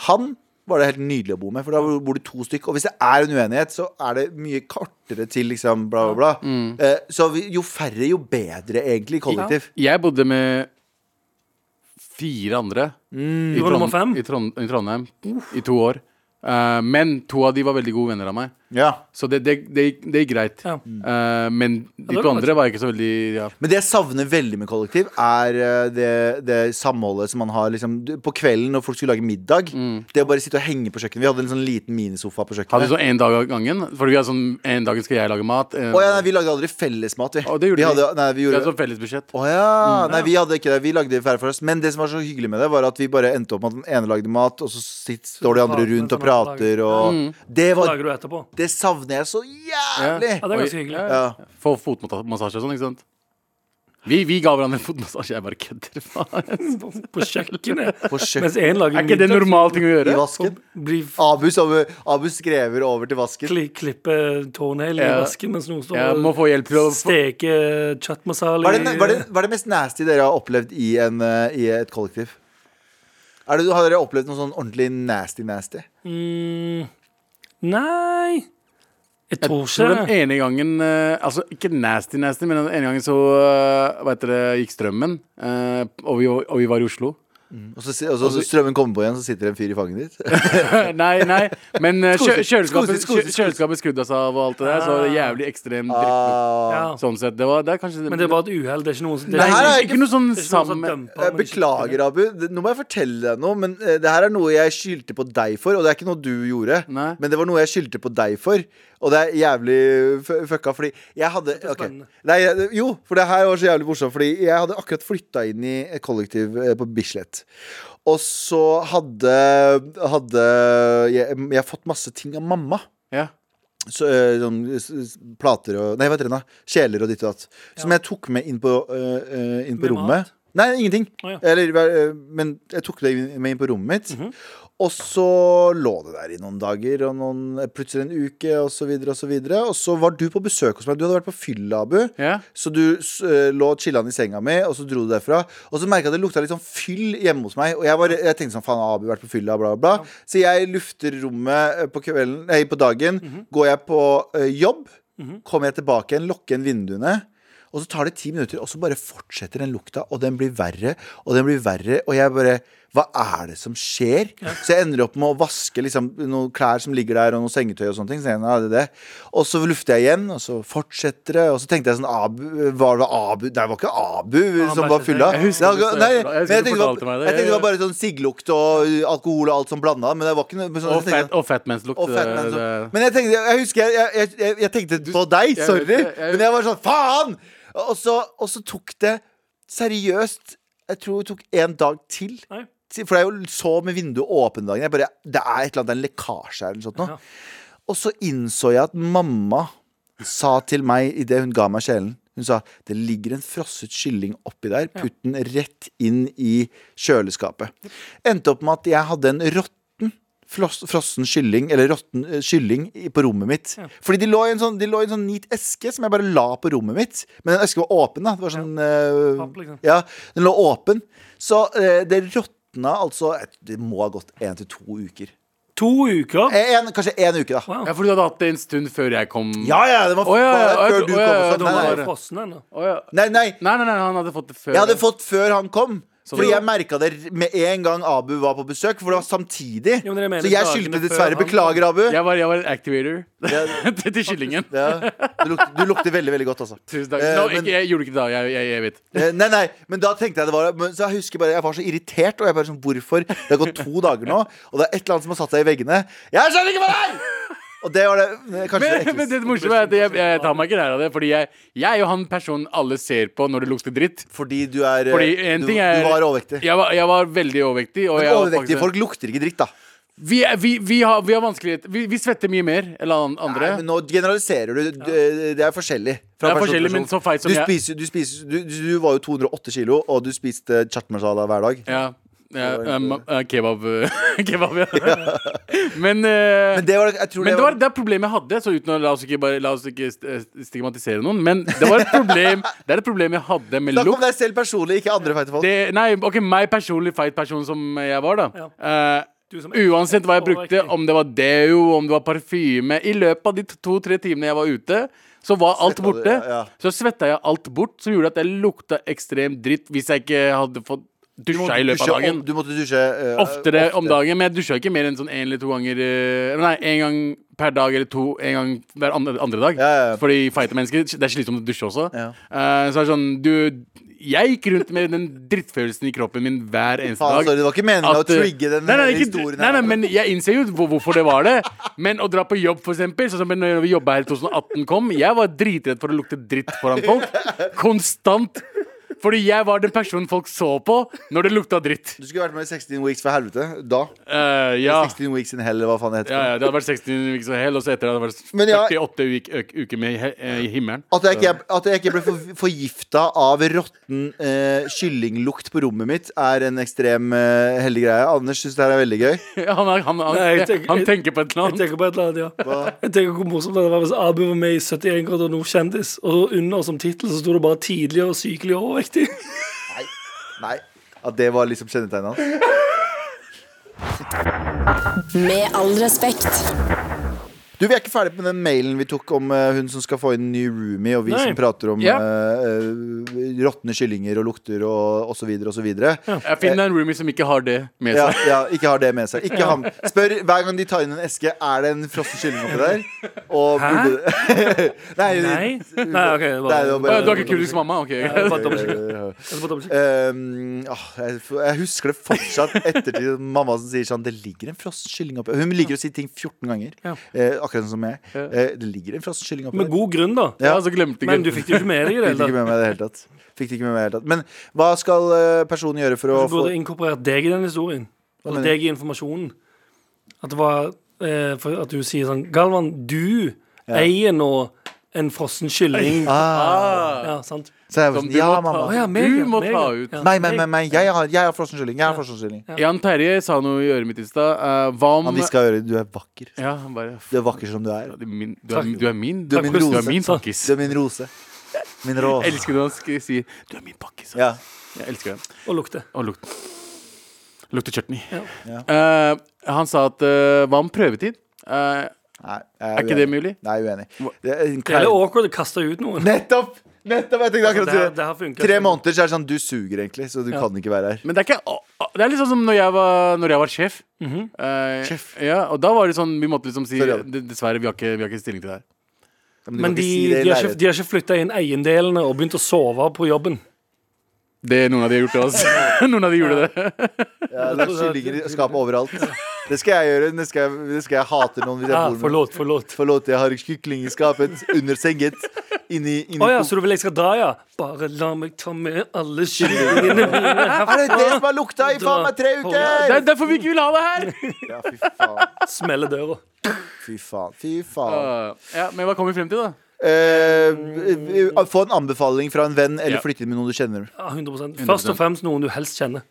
[SPEAKER 4] Han var det helt nydelig å bo med, for da bor det to stykk. Og hvis det er en uenighet, så er det mye kortere til liksom bla, bla, bla. Eh, så vi, jo færre, jo bedre, egentlig, i kollektiv.
[SPEAKER 2] Jeg bodde med fire andre i,
[SPEAKER 3] Mm. Du var nummer fem?
[SPEAKER 2] i, Trond i Trondheim i to år. Eh, men to av de var veldig gode venner av meg,
[SPEAKER 4] Ja.
[SPEAKER 2] så det, det, det, gikk- det gikk greit.
[SPEAKER 3] Ja.
[SPEAKER 2] Eh, men de
[SPEAKER 3] det
[SPEAKER 2] to
[SPEAKER 3] var
[SPEAKER 2] andre var ikke så veldig ja.
[SPEAKER 4] Men det jeg savner veldig med kollektiv, er eh, det, det samholdet som man har liksom, du- på kvelden når folk skulle lage middag. Det å bare sitte og henge på kjøkkenet. Vi hadde en sånn liten minisofa på
[SPEAKER 2] Hadde
[SPEAKER 4] kjøkkenet.
[SPEAKER 2] sånn én dag av gangen. For vi hadde sånn en dag skal jeg lage mat. en-
[SPEAKER 4] Å ja, nei, vi lagde aldri fellesmat, vi.
[SPEAKER 2] Å, det gjorde
[SPEAKER 4] vi
[SPEAKER 2] vi.
[SPEAKER 4] hadde, nei, vi
[SPEAKER 2] vi
[SPEAKER 4] gjorde,
[SPEAKER 2] hadde sånn fellesbudsjett.
[SPEAKER 4] Å ja.
[SPEAKER 3] Mm.
[SPEAKER 4] Nei, vi hadde ikke det. Vi lagde hver for oss. Men det som var så hyggelig med det, var at vi bare endte opp med at den ene lagde mat, og så sitter, står de andre
[SPEAKER 3] prater
[SPEAKER 4] rundt og
[SPEAKER 3] den andre
[SPEAKER 4] prater, og det,
[SPEAKER 3] Hva
[SPEAKER 4] var,
[SPEAKER 3] lager du etterpå?
[SPEAKER 4] det savner jeg så jævlig.
[SPEAKER 3] Ja, det er
[SPEAKER 2] Oi,
[SPEAKER 3] ganske hyggelig.
[SPEAKER 2] ja,
[SPEAKER 4] Ja.
[SPEAKER 2] Få fotmassasje og sånn, ikke sant? Vi, vi ga hverandre fotmassasje. Jeg bare kødder, faen.
[SPEAKER 3] På kjøkkenet.
[SPEAKER 4] På kjøkken.
[SPEAKER 3] Mens én lager
[SPEAKER 2] Er ikke det en normal ting å
[SPEAKER 4] I
[SPEAKER 2] gjøre?
[SPEAKER 4] vasken.
[SPEAKER 3] Blir
[SPEAKER 4] Abus, Abus skrever over til vasken.
[SPEAKER 3] kli, klippe tånegl i
[SPEAKER 2] Ja.
[SPEAKER 3] vasken mens noen står
[SPEAKER 2] Jeg må
[SPEAKER 3] og
[SPEAKER 2] få hjelp til å få
[SPEAKER 3] steker eh, chat masala
[SPEAKER 4] Hva er, det, hva, er det, hva er det mest nasty dere har opplevd i, en, eh, i et kollektiv? Er det, har dere opplevd noe sånn ordentlig nasty-nasty?
[SPEAKER 3] mm, Nei Jeg tror
[SPEAKER 2] Så den
[SPEAKER 3] ikke det.
[SPEAKER 2] ene gangen eh, Altså ikke nasty, nasty, men den ene gangen så eh, Vet dere, gikk strømmen, eh, og, vi, var- og vi var i Oslo.
[SPEAKER 4] Og så, si- og så,
[SPEAKER 3] Altså-
[SPEAKER 4] så strømmen kommer på igjen, så sitter det en fyr i fanget ditt.
[SPEAKER 2] nei, nei, men eh, kjø, kjøleskapet,
[SPEAKER 4] Skosis, skosis, skosis.
[SPEAKER 2] kjø- kjøleskapet skrudde seg av og alt det der, så det er jævlig ekstrem drikke.
[SPEAKER 4] Ah.
[SPEAKER 3] Ja.
[SPEAKER 2] Sånn sett. Det var det er kanskje
[SPEAKER 3] Men det er bare et uhell. Det er ikke noen som det
[SPEAKER 4] Nei, her er
[SPEAKER 2] ikke, ikke noe sånn
[SPEAKER 3] det er ikke noen som
[SPEAKER 2] sammen
[SPEAKER 3] dømper,
[SPEAKER 4] Eh,
[SPEAKER 3] men ikke-
[SPEAKER 4] Beklager, Abu. Det- Nå må jeg fortelle deg noe. Men eh, det her er noe jeg skyldte på deg for, og det er ikke noe du gjorde.
[SPEAKER 2] Nei.
[SPEAKER 4] Men det var noe jeg skyldte på deg for, og det er jævlig f- fucka, fordi jeg hadde
[SPEAKER 3] er
[SPEAKER 4] ok.
[SPEAKER 3] spennende.
[SPEAKER 4] Nei, jeg- jo, for det her var så jævlig morsomt, fordi jeg hadde akkurat flytta inn i et kollektiv eh, på Bislett. Og så hadde, hadde jeg, jeg fått masse ting av mamma
[SPEAKER 2] Ja.
[SPEAKER 4] så, eh, sånn, s- s- plater og Nei, hva heter det da? Kjeler og ditt og datt. Som jeg tok med inn på, eh, eh, inn på
[SPEAKER 3] Med
[SPEAKER 4] rommet.
[SPEAKER 3] mat?
[SPEAKER 4] Nei, ingenting.
[SPEAKER 3] Å, ja. Mhm.
[SPEAKER 4] Eller, eh, men jeg tok det inn- med inn på rommet mitt. Og så lå det der i noen dager, og noen, plutselig en uke, og så videre, og så videre. Og så var du på besøk hos meg. Du hadde vært på fylla, Abu.
[SPEAKER 2] Ja.
[SPEAKER 4] Så du s- eh, lå chillan i senga mi, og så dro du derfra. Og så merka jeg at det lukta litt sånn fyll hjemme hos meg. Og jeg, var, jeg tenkte sånn, faen, har Abu vært på fylla, bla, bla. bla. Så jeg lufter rommet eh, på, kvelden, nei, på dagen. Går jeg på eh, jobb, kommer jeg tilbake igjen, lukker igjen vinduene. Og så tar det ti minutter, og så bare fortsetter den lukta, og den blir verre, og den blir verre, og jeg bare Hva er det som skjer? Så jeg ender opp med å vaske liksom, noen klær som ligger der, og noe sengetøy og sånne ting. Så jeg, ja, det er det. Og så lufter jeg igjen, og så fortsetter det, og så tenkte jeg sånn Abu, Var det Abu Nei, det var ikke Abu som var
[SPEAKER 3] bæsjet
[SPEAKER 4] fylla.
[SPEAKER 3] seg.
[SPEAKER 2] Jeg husker
[SPEAKER 4] Det var-
[SPEAKER 2] det, så
[SPEAKER 4] nei,
[SPEAKER 2] jeg- jeg
[SPEAKER 4] men
[SPEAKER 2] husker
[SPEAKER 4] jeg
[SPEAKER 2] du
[SPEAKER 4] tenkte det var-
[SPEAKER 2] fortalte meg det.
[SPEAKER 4] jeg tenkte det var bare sånn sigglukt og uh, alkohol og alt som blanda, men det var ikke noe men sånn-
[SPEAKER 2] Og,
[SPEAKER 4] jeg
[SPEAKER 2] fat,
[SPEAKER 4] tenkte-
[SPEAKER 2] og fatmanslukt.
[SPEAKER 4] og fat man,
[SPEAKER 2] det-
[SPEAKER 4] så-
[SPEAKER 2] eh, det-
[SPEAKER 4] Men jeg tenkte, jeg husker jeg, jeg, jeg, jeg tenkte på deg,
[SPEAKER 2] jeg-
[SPEAKER 4] sorry
[SPEAKER 2] jeg- jeg-
[SPEAKER 4] Men jeg var sånn, faen og så, og så tok det seriøst Jeg tror det tok en dag til
[SPEAKER 3] Nei.
[SPEAKER 4] Til- For jeg jo så med vinduet åpent dagen jeg bare, Det er et eller annet, det er en lekkasje her eller sånt nå Og så innså jeg at mamma Sa til meg i det hun ga meg sjelen Hun sa det ligger en frosset kylling oppi der. Putt den rett inn i kjøleskapet. Endte opp med at jeg hadde en råtten floss- frossen kylling Eller råtten eh, kylling i- på rommet mitt. Fordi de lå, i en sånn, de lå i en sånn neat eske som jeg bare la på rommet mitt. Men den esken var åpen. da Det var sånn eh,
[SPEAKER 3] Papp, liksom.
[SPEAKER 4] ja, Den lå åpen. Så eh, det råtna altså Det må ha gått én til to uker.
[SPEAKER 3] To uker?
[SPEAKER 4] Eh, En, kanskje én uke, da.
[SPEAKER 2] Ja, for du hadde hatt det en stund før jeg kom
[SPEAKER 4] Ja, ja, det var
[SPEAKER 2] Å, ja, ja,
[SPEAKER 4] bare
[SPEAKER 2] jeg
[SPEAKER 4] før
[SPEAKER 2] tro-
[SPEAKER 4] du
[SPEAKER 2] å,
[SPEAKER 4] kom.
[SPEAKER 2] ja, ja, jeg trodde
[SPEAKER 4] Også. Nei,
[SPEAKER 2] det var-
[SPEAKER 3] Den
[SPEAKER 4] nei.
[SPEAKER 3] er frossen ennå.
[SPEAKER 2] Å, ja.
[SPEAKER 4] Nei, nei,
[SPEAKER 2] Nei, nei, nei, han hadde fått det før.
[SPEAKER 4] jeg hadde fått før han kom. Fordi
[SPEAKER 2] det-
[SPEAKER 4] jeg merka det med en gang Abu var på besøk. For det var samtidig.
[SPEAKER 3] Jo, men dere mener
[SPEAKER 4] Så jeg
[SPEAKER 3] dagene
[SPEAKER 4] skyldte
[SPEAKER 3] før
[SPEAKER 4] dessverre.
[SPEAKER 3] han kom.
[SPEAKER 4] Beklager, Abu.
[SPEAKER 2] jeg, var, jeg var en activator
[SPEAKER 4] Ja.
[SPEAKER 2] til til kyllingen.
[SPEAKER 4] Ja. Du, lukter, du lukter veldig, veldig godt, altså.
[SPEAKER 2] Tusen takk.
[SPEAKER 4] Eh,
[SPEAKER 2] No,
[SPEAKER 4] men-
[SPEAKER 2] ikke, jeg gjorde ikke det da. Jeg, jeg, jeg vet.
[SPEAKER 4] Eh, Nei, nei, men da tenkte jeg det var men Så jeg husker bare, jeg var så irritert Og jeg bare sånn, hvorfor? Det har gått to dager nå Og det er et eller annet som har satt seg i veggene Jeg skjønner ikke hva det er! Og det var det, eh, kanskje det
[SPEAKER 2] Men, men
[SPEAKER 4] enkleste
[SPEAKER 2] det morsomme er at jeg, jeg tar meg ikke nær av det, Fordi jeg, jeg er jo han personen alle ser på når det lukter dritt.
[SPEAKER 4] Fordi du er, eh,
[SPEAKER 2] Fordi en
[SPEAKER 4] du,
[SPEAKER 2] ting er
[SPEAKER 4] du var overvektig
[SPEAKER 2] Jeg var, jeg var veldig overvektig. Og
[SPEAKER 4] Men
[SPEAKER 2] jeg var
[SPEAKER 4] overvektige
[SPEAKER 2] faktisk-
[SPEAKER 4] folk lukter ikke dritt da
[SPEAKER 2] vi, er- vi, vi har, vi har vanskeligheter. Vi, vi svetter mye mer enn an- andre.
[SPEAKER 4] Nei, men nå generaliserer du Du- Det er forskjellig fra
[SPEAKER 2] Det er
[SPEAKER 4] person til
[SPEAKER 2] forskjellig, men
[SPEAKER 4] person.
[SPEAKER 2] så feit som
[SPEAKER 4] du
[SPEAKER 2] jeg-
[SPEAKER 4] spiser, du, spiser, du, du var jo 208 kilo Og du spiste chat masala hver dag
[SPEAKER 2] Ja, ja um, uh, kebab, kebab ja. Men, eh,
[SPEAKER 4] Men det var, jeg tror
[SPEAKER 2] Men
[SPEAKER 4] det
[SPEAKER 2] det var det problemet jeg hadde. Så uten å, la, oss ikke bare, la oss ikke st- stigmatisere noen. Men det var et problem Det er et problem jeg hadde med
[SPEAKER 4] Snakk om
[SPEAKER 2] lukt.
[SPEAKER 4] deg selv personlig, ikke andre feite folk
[SPEAKER 2] Det, nei, ok, meg personlig feit person som jeg var, da. Eh,
[SPEAKER 3] Du som er
[SPEAKER 2] uansett hva jeg brukte,
[SPEAKER 3] overvektig.
[SPEAKER 2] om det var deo, om det var parfyme I løpet av de to-tre timene jeg var ute, så var alt
[SPEAKER 4] Svetta du,
[SPEAKER 2] borte.
[SPEAKER 4] ja, ja.
[SPEAKER 2] Så svetta jeg alt bort, som gjorde at jeg lukta ekstremt dritt hvis jeg ikke hadde fått
[SPEAKER 4] Du måtte
[SPEAKER 2] dusja i løpet
[SPEAKER 4] dusje
[SPEAKER 2] av
[SPEAKER 4] om-
[SPEAKER 2] dagen.
[SPEAKER 4] Du måtte dusje eh,
[SPEAKER 2] Oftere om dagen, men jeg dusja ikke mer enn sånn én eller to ganger eh, Nei, én gang per dag eller to. En gang hver andre, andre dag.
[SPEAKER 4] Ja, ja.
[SPEAKER 2] Fordi feite mennesker Det er slitsomt å dusje også.
[SPEAKER 4] Ja.
[SPEAKER 2] Eh, så er det sånn Du Jeg gikk rundt med den drittfølelsen i kroppen min hver eneste
[SPEAKER 4] Faen,
[SPEAKER 2] dag.
[SPEAKER 4] sorry, det var ikke meningen å
[SPEAKER 2] At, eh,
[SPEAKER 4] trigge den
[SPEAKER 2] nei, nei,
[SPEAKER 4] hele
[SPEAKER 2] ikke-
[SPEAKER 4] historien
[SPEAKER 2] Nei,
[SPEAKER 4] her.
[SPEAKER 2] nei, men jeg innser jo hvor, hvorfor det var det. Men å dra på jobb, for eksempel, sånn som når vi jobba her i 2018 kom, jeg var dritredd for å lukte dritt foran folk. Konstant. Fordi jeg var den personen folk så på når det lukta dritt.
[SPEAKER 4] Du skulle vært med i 16 Weeks for helvete. Da.
[SPEAKER 2] Eh, ja.
[SPEAKER 4] 16 Weeks in Hell, eller hva faen det heter.
[SPEAKER 2] Ja, ja, det hadde vært 60 uker som hell, og så etter det hadde det
[SPEAKER 4] Men ja-
[SPEAKER 2] vært 48 uker øk- uker med he- eh, i himmelen.
[SPEAKER 4] At jeg, ikke, at jeg ikke ble for- forgifta av råtten eh, kyllinglukt på rommet mitt, er en ekstrem eh, heldig greie. Anders syns det her er veldig gøy.
[SPEAKER 2] Han, er- han, han,
[SPEAKER 3] Nei, jeg tenker-
[SPEAKER 2] han tenker på et eller
[SPEAKER 3] Jeg
[SPEAKER 2] annet.
[SPEAKER 3] tenker på et eller annet, ja. Jeg tenker hvor morsomt det var hvis Abu var med i 71 grader nord kjendis, og under som tittel så sto det bare 'tidligere og sykelig overvektig'.
[SPEAKER 4] Nei, At det var liksom kjennetegnet hans.
[SPEAKER 5] Med all respekt.
[SPEAKER 4] Du, Vi er ikke ferdig med den mailen vi tok om eh, hun som skal få inn ny roomie, og vi
[SPEAKER 3] Nei.
[SPEAKER 4] som prater om
[SPEAKER 2] Ja.
[SPEAKER 4] eh, eh, råtne kyllinger og lukter og osv. osv. Ja.
[SPEAKER 2] Jeg finner en roomie som ikke har det med
[SPEAKER 4] Ja,
[SPEAKER 2] seg.
[SPEAKER 4] ja, ikke har det med seg. Ikke ham. Spør hver gang de tar inn en eske, er det en frossen kylling oppi der? Og burde Nei,
[SPEAKER 3] Nei? Nei, OK. Det
[SPEAKER 4] Nei, det var
[SPEAKER 3] var
[SPEAKER 2] Å,
[SPEAKER 4] bare-
[SPEAKER 2] ja, Du har ikke kurdisk mamma? Ok.
[SPEAKER 3] Det var dobbeltsjekk.
[SPEAKER 4] Eh,
[SPEAKER 3] Det var dobbeltsjekk.
[SPEAKER 4] Ehm, åh, jeg, jeg husker det fortsatt ettertid. Mamma som sier sånn Det ligger en frossen kylling oppi Hun liker å si ting 14 ganger.
[SPEAKER 3] Ja.
[SPEAKER 4] Eh, akkurat sånn som jeg. Eh, det ligger en frossen kylling oppi
[SPEAKER 3] Med god grunn, da.
[SPEAKER 2] Ja, så glemte
[SPEAKER 3] Men du
[SPEAKER 2] jeg
[SPEAKER 3] fikk det jo ikke med deg i det
[SPEAKER 4] Fikk det ikke
[SPEAKER 3] hele tatt.
[SPEAKER 4] med meg i det hele tatt. Fikk det ikke med meg i det hele tatt. Men hva skal eh, personen gjøre for å
[SPEAKER 2] Altså,
[SPEAKER 3] Du
[SPEAKER 4] få
[SPEAKER 3] burde inkorporert deg i den historien. Og
[SPEAKER 4] mener du?
[SPEAKER 3] deg i informasjonen. At det var eh, for At du sier sånn Galvan, du eier nå en frossen kylling. Ja, sant?
[SPEAKER 4] Ah, Så jeg var
[SPEAKER 2] Som
[SPEAKER 4] sånn
[SPEAKER 2] du
[SPEAKER 4] Ja,
[SPEAKER 2] må ta-
[SPEAKER 4] mamma.
[SPEAKER 3] Å ja, meg,
[SPEAKER 2] Du
[SPEAKER 3] ja,
[SPEAKER 2] må
[SPEAKER 3] meg,
[SPEAKER 2] ta
[SPEAKER 3] ja.
[SPEAKER 2] ut.
[SPEAKER 3] Ja,
[SPEAKER 4] Nei, nei, nei,
[SPEAKER 3] meg.
[SPEAKER 4] nei. Jeg har, jeg har frossen kylling. Jeg har frossen kylling.
[SPEAKER 2] Jan Terje sa noe i øret mitt i stad. eh, hva om
[SPEAKER 4] Han hviska i øret. Du er vakker.
[SPEAKER 2] Ja, han bare f-
[SPEAKER 4] Du er vakker som du er.
[SPEAKER 2] du er min, du, er, du er min.
[SPEAKER 4] Du er min
[SPEAKER 2] Du
[SPEAKER 4] rose.
[SPEAKER 2] er min pakkis.
[SPEAKER 4] Du er min rose. Min
[SPEAKER 2] Jeg
[SPEAKER 4] rose.
[SPEAKER 2] elsker når han sk- sier 'du er min pakkis'.
[SPEAKER 4] Ja.
[SPEAKER 2] Jeg elsker det.
[SPEAKER 3] Og lukte.
[SPEAKER 2] Og lukt. Lukter chutney.
[SPEAKER 4] Ja.
[SPEAKER 2] Eh, han sa at eh, hva om prøvetid? Eh,
[SPEAKER 4] Nei, jeg
[SPEAKER 2] Er ikke det
[SPEAKER 4] uenig.
[SPEAKER 2] mulig?
[SPEAKER 4] Nei, jeg er uenig. Det er en
[SPEAKER 3] Det er
[SPEAKER 4] klein-
[SPEAKER 3] litt awkward å kaste ut noen.
[SPEAKER 4] Nettopp! Nettopp! Jeg tenkte akkurat
[SPEAKER 3] Altså, det her-
[SPEAKER 4] det.
[SPEAKER 3] det her funker.
[SPEAKER 4] Tre måneder, så er det sånn Du suger, egentlig, så du kan ikke være her.
[SPEAKER 2] Men det er ikke å, å, Det er litt sånn som når jeg var, når jeg var sjef. Eh,
[SPEAKER 4] Sjef.
[SPEAKER 2] Ja, og da var det sånn Vi måtte liksom si
[SPEAKER 4] Sorry, ja.
[SPEAKER 2] "D- Dessverre, vi har ikke, vi har ikke stilling til det her.
[SPEAKER 4] Men, du kan
[SPEAKER 3] Men
[SPEAKER 4] ikke
[SPEAKER 3] de,
[SPEAKER 4] si det i
[SPEAKER 3] de, har ikke,
[SPEAKER 4] leiligheten.
[SPEAKER 3] de har ikke flytta inn eiendelene og begynt å sove på jobben.
[SPEAKER 2] Det noen av de har gjort til oss. noen av de gjorde det.
[SPEAKER 4] ja, det er kyllinger i skapet overalt. Det skal jeg gjøre. Det skal jeg, det skal jeg hate noen hvis
[SPEAKER 3] Ja,
[SPEAKER 4] jeg bor med
[SPEAKER 3] forlåt, forlåt.
[SPEAKER 4] Forlåt, jeg har kylling i skapet, under senget, inni, inni
[SPEAKER 3] Å ja, så du vil jeg skal dra, ja? Bare la meg ta med alle kyllingene mine
[SPEAKER 4] Er det det
[SPEAKER 3] herfra.
[SPEAKER 4] som har lukta i faen meg tre
[SPEAKER 2] Det
[SPEAKER 4] uker?!
[SPEAKER 2] er derfor vi ikke vil ha det her!
[SPEAKER 4] Ja, fy faen.
[SPEAKER 3] Smelle døra.
[SPEAKER 4] Fy faen. Fy faen.
[SPEAKER 2] ja, men hva kom vi frem til, da?
[SPEAKER 4] eh, eh, få en anbefaling fra en venn, eller
[SPEAKER 2] Ja.
[SPEAKER 4] flytte inn med noen du kjenner.
[SPEAKER 3] Ja, 100 Først og fremst noen du helst kjenner.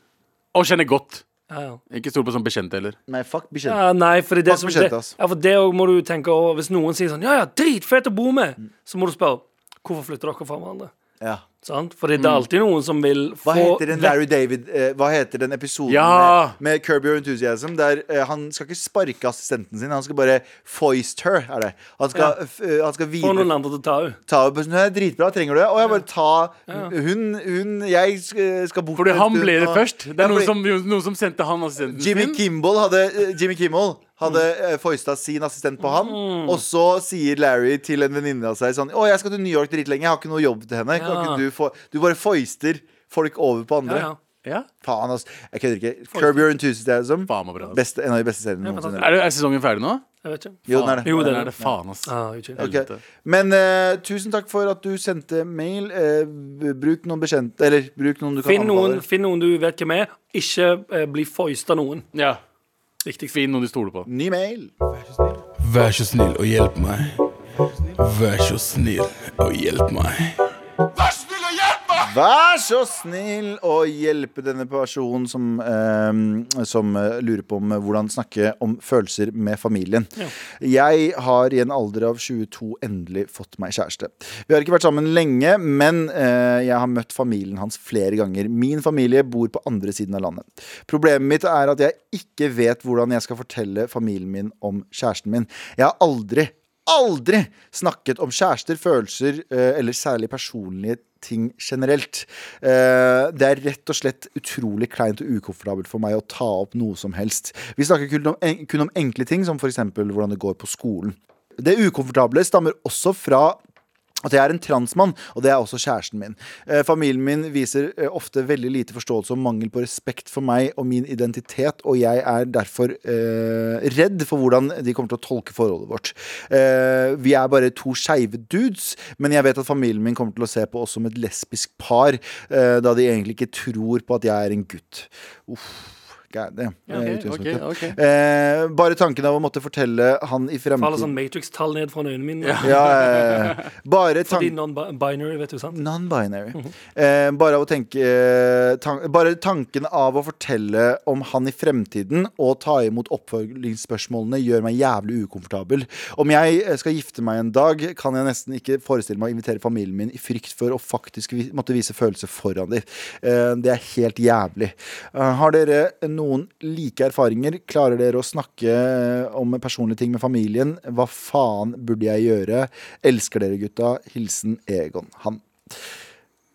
[SPEAKER 2] Og kjenner godt.
[SPEAKER 3] Ja,
[SPEAKER 4] Mm.
[SPEAKER 3] ja.
[SPEAKER 2] Ikke stol på sånn bekjente heller.
[SPEAKER 4] Nei, fuck bekjent.
[SPEAKER 3] Ja, nei, fordi det
[SPEAKER 4] Fuck
[SPEAKER 3] som,
[SPEAKER 4] bekjente, altså.
[SPEAKER 3] det,
[SPEAKER 4] ass.
[SPEAKER 3] ja, for det også må du tenke over. Hvis noen sier sånn Ja, ja, dritfett å bo med,
[SPEAKER 4] Mm.
[SPEAKER 3] så må du spørre hvorfor flytter dere fra hverandre.
[SPEAKER 4] Ja.
[SPEAKER 3] Sant? Fordi det er alltid noen som vil få
[SPEAKER 4] Mm. Hva heter den
[SPEAKER 3] vekk-
[SPEAKER 4] Larry David eh, Hva heter den episoden
[SPEAKER 2] Ja!
[SPEAKER 4] med, med Curb Your Enthusiasm? Der eh, han skal ikke sparke assistenten sin, han skal bare foist her. Er det. Han skal,
[SPEAKER 3] Ja.
[SPEAKER 4] f- eh, han skal
[SPEAKER 3] Få
[SPEAKER 4] videre
[SPEAKER 3] noen andre til å ta ut.
[SPEAKER 4] ta over på sånn, Hun er dritbra, trenger du det? Og jeg bare ta Hun, hun Jeg sk- eh, skal bort
[SPEAKER 2] Fordi
[SPEAKER 4] en
[SPEAKER 2] han
[SPEAKER 4] stund,
[SPEAKER 2] ble det
[SPEAKER 4] og-
[SPEAKER 2] først. Det
[SPEAKER 4] Ja,
[SPEAKER 2] er noen
[SPEAKER 4] fordi
[SPEAKER 2] som, noen som sendte han assistenten
[SPEAKER 4] Jimmy
[SPEAKER 2] sin.
[SPEAKER 4] Kimball hadde eh, Jimmy Kimmel hadde mm. foista sin assistent på han.
[SPEAKER 2] Mm.
[SPEAKER 4] Og så sier Larry til en venninne av seg sånn Å, jeg skal til New York dritlenge. Jeg har ikke noe jobb til henne. Kan
[SPEAKER 3] Ja.
[SPEAKER 4] ikke du, få, du bare foister folk over på andre.
[SPEAKER 3] Ja, ja.
[SPEAKER 2] Ja.
[SPEAKER 4] Faen, altså. Jeg kødder ikke. Curb Your Enthusiasm.
[SPEAKER 2] Faen meg bra. ass.
[SPEAKER 4] Beste, en av de beste seriene
[SPEAKER 3] Ja, men sant.
[SPEAKER 4] noensinne.
[SPEAKER 2] Er, det, er sesongen ferdig nå?
[SPEAKER 3] Jeg vet ikke.
[SPEAKER 4] Jo, den er det.
[SPEAKER 3] Jo,
[SPEAKER 2] Den
[SPEAKER 3] den
[SPEAKER 2] er det faen, ass.
[SPEAKER 3] Ah, unnskyld.
[SPEAKER 4] Ok.
[SPEAKER 2] Helvete.
[SPEAKER 4] Men eh, tusen takk for at du sendte mail. Eh, b- bruk noen bekjente Eller bruk noen du kan
[SPEAKER 3] Finn, noen,
[SPEAKER 4] anbefale.
[SPEAKER 3] finn noen du vet hvem er. Ikke eh, bli foist av noen.
[SPEAKER 2] Ja.
[SPEAKER 3] Viktigst.
[SPEAKER 2] Finn noen du stoler på.
[SPEAKER 4] Ny mail.
[SPEAKER 8] Vær så snill og hjelp meg. Vær så snill og hjelp meg.
[SPEAKER 4] Vær så snill å hjelpe denne personen som, eh, som eh, lurer på om eh, hvordan snakke om følelser med familien. Jeg har i en alder av 22 endelig fått meg kjæreste. Vi har ikke vært sammen lenge, men eh, jeg har møtt familien hans flere ganger. Min familie bor på andre siden av landet. Problemet mitt er at jeg ikke vet hvordan jeg skal fortelle familien min om kjæresten min. Jeg har aldri aldri snakket om kjærester, følelser eh, eller særlig personlige ting generelt. Eh, Det er rett og slett utrolig kleint og ukomfortabelt for meg å ta opp noe som helst. Vi snakker kun om, en- kun om enkle ting, som f.eks. hvordan det går på skolen. Det ukomfortable stammer også fra at jeg er en transmann, og det er også kjæresten min. Eh, Familien min viser eh, ofte veldig lite forståelse og mangel på respekt for meg og min identitet, og jeg er derfor eh, redd for hvordan de kommer til å tolke forholdet vårt. Eh, vi er bare to skeive dudes, men jeg vet at familien min kommer til å se på oss som et lesbisk par, eh, da de egentlig ikke tror på at jeg er en gutt. Uff. God damn. eh, utgangspunktet. Eh, bare tanken av å måtte fortelle han i
[SPEAKER 3] Faller
[SPEAKER 4] fremtiden
[SPEAKER 3] sånn Matrix-tall ned fra øynene mine.
[SPEAKER 4] ja, ja, ja. Bare
[SPEAKER 3] De
[SPEAKER 4] tanken
[SPEAKER 3] non-binary, vet du, sant?
[SPEAKER 4] Non-binary. eh, bare, av å tenke, eh, tan bare tanken av å fortelle om han i fremtiden og ta imot oppfølgingsspørsmålene gjør meg jævlig ukomfortabel. Om jeg eh, skal gifte meg en dag, kan jeg nesten ikke forestille meg å invitere familien min i frykt for å faktisk vi måtte vise følelser foran dem. Eh, det er helt jævlig. Eh, har dere noen like erfaringer? Klarer dere å snakke eh, om personlige ting med familien? Hva faen burde jeg gjøre? Elsker dere, gutta. Hilsen Egon. Han.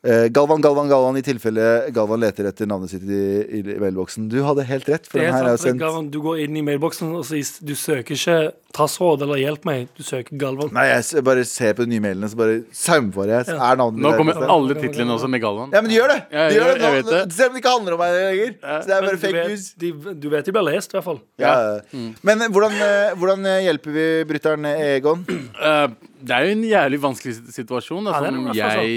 [SPEAKER 4] Eh, Galvan, Galvan, Galvan, i tilfelle Galvan leter etter navnet sitt i, i mailboksen. Du hadde helt rett, for
[SPEAKER 3] Det
[SPEAKER 4] den
[SPEAKER 3] er
[SPEAKER 4] her er jo
[SPEAKER 3] sant,
[SPEAKER 4] sendt
[SPEAKER 3] Galvan, du går inn i mailboksen og sier du søker ikke trassråd eller hjelp meg, du søker Galvan.
[SPEAKER 4] Nei, jeg s- bare ser på de nye mailene, så bare saumfarer jeg. så Er navnet
[SPEAKER 2] Nå
[SPEAKER 4] der.
[SPEAKER 2] kommer alle titlene også med Galvan.
[SPEAKER 4] Ja, men de gjør det!
[SPEAKER 2] Ja, jeg
[SPEAKER 4] De gjør det.
[SPEAKER 2] gjør- jeg
[SPEAKER 4] nå.
[SPEAKER 2] vet det.
[SPEAKER 4] Selv om det ikke handler om meg lenger. Så det er
[SPEAKER 3] Men
[SPEAKER 4] bare
[SPEAKER 3] du
[SPEAKER 4] fake
[SPEAKER 3] vet-
[SPEAKER 4] news.
[SPEAKER 3] de- Du vet de blir lest, i hvert fall.
[SPEAKER 4] Ja.
[SPEAKER 2] Mm.
[SPEAKER 4] Men eh, hvordan, eh, hvordan eh, hjelper vi brytteren eh, Egon?
[SPEAKER 2] Eh, det er jo en jævlig vanskelig sit- situasjon da,
[SPEAKER 3] Ja, det er
[SPEAKER 2] som
[SPEAKER 3] det, i hvert fall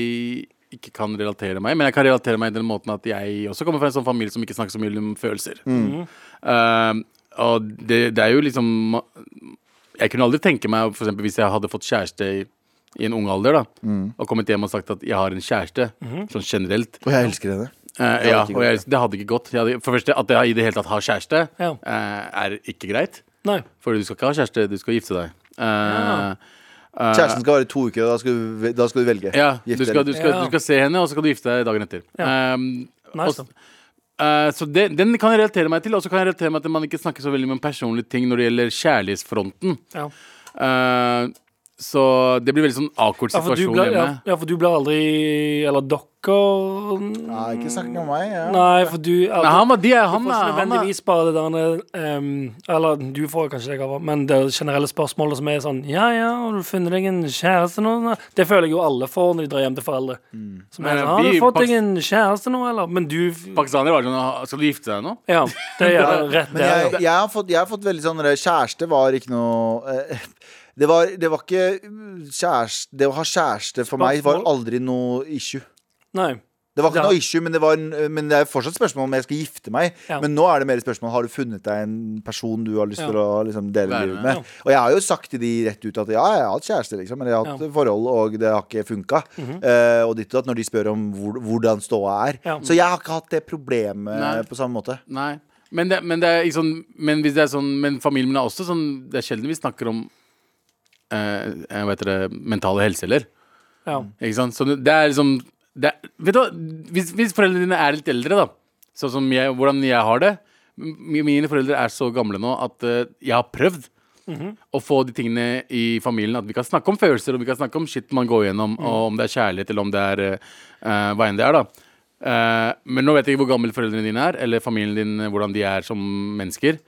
[SPEAKER 2] jeg ikke kan relatere meg i. Men jeg kan relatere meg i den måten at jeg også kommer fra en sånn familie som ikke snakker så mye om følelser.
[SPEAKER 4] Mm.
[SPEAKER 3] Mm.
[SPEAKER 2] Eh, og det, det er jo liksom Jeg kunne aldri tenke meg, for eksempel hvis jeg hadde fått kjæreste i, i en ung alder, da,
[SPEAKER 4] Mm.
[SPEAKER 2] og kommet hjem og sagt at jeg har en kjæreste,
[SPEAKER 3] Mhm.
[SPEAKER 2] sånn generelt,
[SPEAKER 4] Og jeg elsker henne.
[SPEAKER 2] Eh,
[SPEAKER 4] Det
[SPEAKER 2] ja,
[SPEAKER 4] hadde ikke
[SPEAKER 2] og jeg, det hadde ikke gått. Jeg hadde, for det første, At jeg i det hele tatt har kjæreste,
[SPEAKER 3] Ja.
[SPEAKER 2] eh, er ikke greit.
[SPEAKER 3] Nei.
[SPEAKER 2] For du skal ikke ha kjæreste, du skal gifte deg. Eh, eh,
[SPEAKER 4] Kjæresten skal være i to uker, og da skal du, ve- da skal du velge.
[SPEAKER 2] ja, du,
[SPEAKER 4] Gifte
[SPEAKER 2] skal,
[SPEAKER 4] eller-
[SPEAKER 2] du, skal,
[SPEAKER 3] Ja.
[SPEAKER 2] du skal se henne, og så skal du gifte deg dagen etter.
[SPEAKER 3] Ja.
[SPEAKER 2] Um,
[SPEAKER 3] Nice,
[SPEAKER 2] og- eh, så det, Den kan jeg relatere meg til, og så kan jeg relatere meg til at man ikke snakker så veldig om personlige ting når det gjelder kjærlighetsfronten.
[SPEAKER 3] Ja.
[SPEAKER 2] Eh, så det blir veldig sånn awkward
[SPEAKER 3] Ja, for du
[SPEAKER 2] situasjon
[SPEAKER 3] blir, ja,
[SPEAKER 2] hjemme.
[SPEAKER 3] ja, for du blir aldri Eller dere
[SPEAKER 4] Nei, ikke snakk om meg. Ja.
[SPEAKER 3] Nei, for du ja,
[SPEAKER 2] Nei, han var de,
[SPEAKER 3] Du
[SPEAKER 2] han,
[SPEAKER 3] får ikke
[SPEAKER 2] er- han, er-
[SPEAKER 3] nødvendigvis bare det der ehm, Eller du får kanskje det, Gavar, men det generelle spørsmålet som er sånn Ja, ja, har du funnet deg en kjæreste nå? Nei, Det føler jeg jo alle får når de drar hjem til foreldre.
[SPEAKER 4] Mm.
[SPEAKER 3] Som
[SPEAKER 2] Nei,
[SPEAKER 3] er
[SPEAKER 2] nei,
[SPEAKER 3] sånn, Har
[SPEAKER 2] vi
[SPEAKER 3] du fått deg
[SPEAKER 2] paks-
[SPEAKER 3] en kjæreste nå, eller? Men du
[SPEAKER 2] pakistanere var sånn Skal du gifte deg nå?
[SPEAKER 3] Ja, det gjør det rett
[SPEAKER 4] Men jeg,
[SPEAKER 3] der. ja.
[SPEAKER 4] jeg, har fått, jeg har fått veldig sånn der, Kjæreste var ikke noe eh, det var, det var ikke kjæreste Det å ha kjæreste for meg var aldri noe issue.
[SPEAKER 3] Nei.
[SPEAKER 4] Det var ikke
[SPEAKER 3] Ja.
[SPEAKER 4] noe issue, men det, var, en- men det er fortsatt spørsmål om jeg skal gifte meg.
[SPEAKER 3] Ja.
[SPEAKER 4] Men nå er det mer et spørsmål Har du funnet deg en person du har lyst
[SPEAKER 3] Ja.
[SPEAKER 4] til å liksom, dele
[SPEAKER 2] Være
[SPEAKER 4] livet
[SPEAKER 2] med.
[SPEAKER 4] med. Og jeg har jo sagt til de rett ut at ja, jeg har hatt kjæreste, liksom. Eller jeg har hatt
[SPEAKER 3] Ja. Mhm.
[SPEAKER 4] forhold, og det har ikke funka. Eh, og ditt og datt, når de spør om hvor, hvordan ståa er.
[SPEAKER 3] Ja.
[SPEAKER 4] Så jeg har ikke hatt det problemet
[SPEAKER 2] Nei.
[SPEAKER 4] på samme måte.
[SPEAKER 2] Nei. Men, det, men, det er ikke sånn, men hvis det er sånn Men familien er også sånn Det er sjelden vi snakker om eh, jeg vet det, mentale helse heller.
[SPEAKER 3] Ja.
[SPEAKER 2] Ikke sant? Så det er liksom det er, Vet du hva, hvis, hvis foreldrene dine er litt eldre, da, sånn som jeg, hvordan jeg har det m- Mine foreldre er så gamle nå at eh, jeg har prøvd å få de tingene i familien at vi kan snakke om følelser, og vi kan snakke om shit man går gjennom, og om det er kjærlighet, eller om det er eh, eh, hva enn det er, da. Eh, men nå vet jeg ikke hvor gamle foreldrene dine er, eller familien din, eh, hvordan de er som mennesker.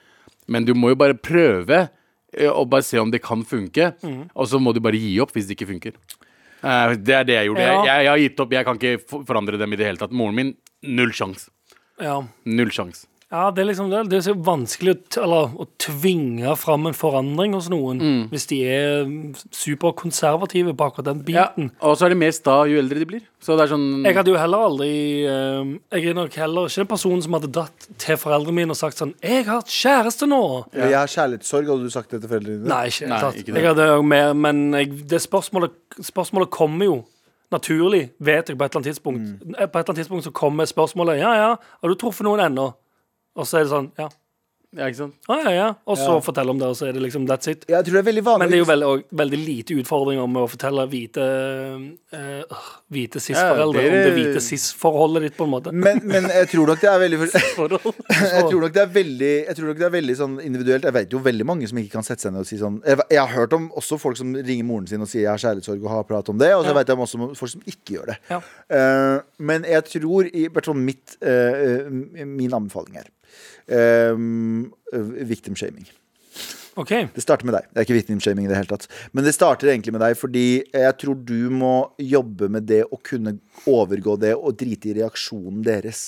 [SPEAKER 2] Men du må jo bare prøve eh, og bare se om det kan funke, og så må du bare gi opp hvis det ikke funker. Eh, Det er det jeg gjorde.
[SPEAKER 3] Ja.
[SPEAKER 2] Jeg, jeg, jeg har gitt opp. Jeg kan ikke for- forandre dem i det hele tatt. Moren min, null sjans.
[SPEAKER 3] ja.
[SPEAKER 2] Null sjans.
[SPEAKER 3] Ja, det er liksom det. Det er så vanskelig å, t eller, å tvinge fram en forandring hos noen hvis de er superkonservative på akkurat den
[SPEAKER 2] Ja.
[SPEAKER 3] biten.
[SPEAKER 2] Og så er de mer sta jo eldre de blir. Så det er sånn
[SPEAKER 3] Jeg hadde jo heller aldri eh, Jeg er nok heller ikke den personen som hadde dratt til foreldrene mine og sagt sånn 'Jeg har kjæreste nå!'
[SPEAKER 4] Eller Jeg har kjærlighetssorg, hadde du sagt det til foreldrene dine?
[SPEAKER 3] Nei, ikke,
[SPEAKER 2] Nei,
[SPEAKER 3] Nei,
[SPEAKER 2] ikke det.
[SPEAKER 3] ikke Jeg hadde jo mer, men jeg, det spørsmålet, spørsmålet kommer jo naturlig, vet jeg, på et eller annet tidspunkt.
[SPEAKER 2] Mm.
[SPEAKER 3] Eh, På et eller annet tidspunkt så kommer spørsmålet 'Ja, ja, har du truffet noen ennå?' Og så er det sånn 'Ja,
[SPEAKER 2] Ja, ikke sant?
[SPEAKER 3] ja, ja', ja. Og så fortell om det, og så er det liksom that's it.
[SPEAKER 4] Jeg tror det er veldig vanlig.
[SPEAKER 3] Men det er jo veldig, og, veldig lite utfordringer med å fortelle hvite eh, øh, Hvite cis-foreldre
[SPEAKER 2] Ja,
[SPEAKER 3] om det
[SPEAKER 2] det-
[SPEAKER 3] hvite cis-forholdet ditt, på en måte.
[SPEAKER 4] men, men jeg tror nok det er veldig Jeg
[SPEAKER 3] Så-
[SPEAKER 4] tror nok det er veldig, jeg tror nok det er veldig sånn individuelt. Jeg vet jo veldig mange som ikke kan sette seg ned og si sånn Jeg, jeg har hørt om også folk som ringer moren sin og sier 'jeg har kjærlighetssorg' og har prat om det. Og så
[SPEAKER 3] Ja.
[SPEAKER 4] vet jeg om også om folk som ikke gjør det.
[SPEAKER 3] Ja.
[SPEAKER 4] Eh, men jeg tror i hvert fall mitt, eh, eh, Min anbefaling er eh, victim shaming.
[SPEAKER 3] OK.
[SPEAKER 4] Det starter med deg. Det er ikke victim-shaming i det hele tatt. Men det starter egentlig med deg, fordi jeg tror du må jobbe med det å kunne overgå det og drite i reaksjonen deres.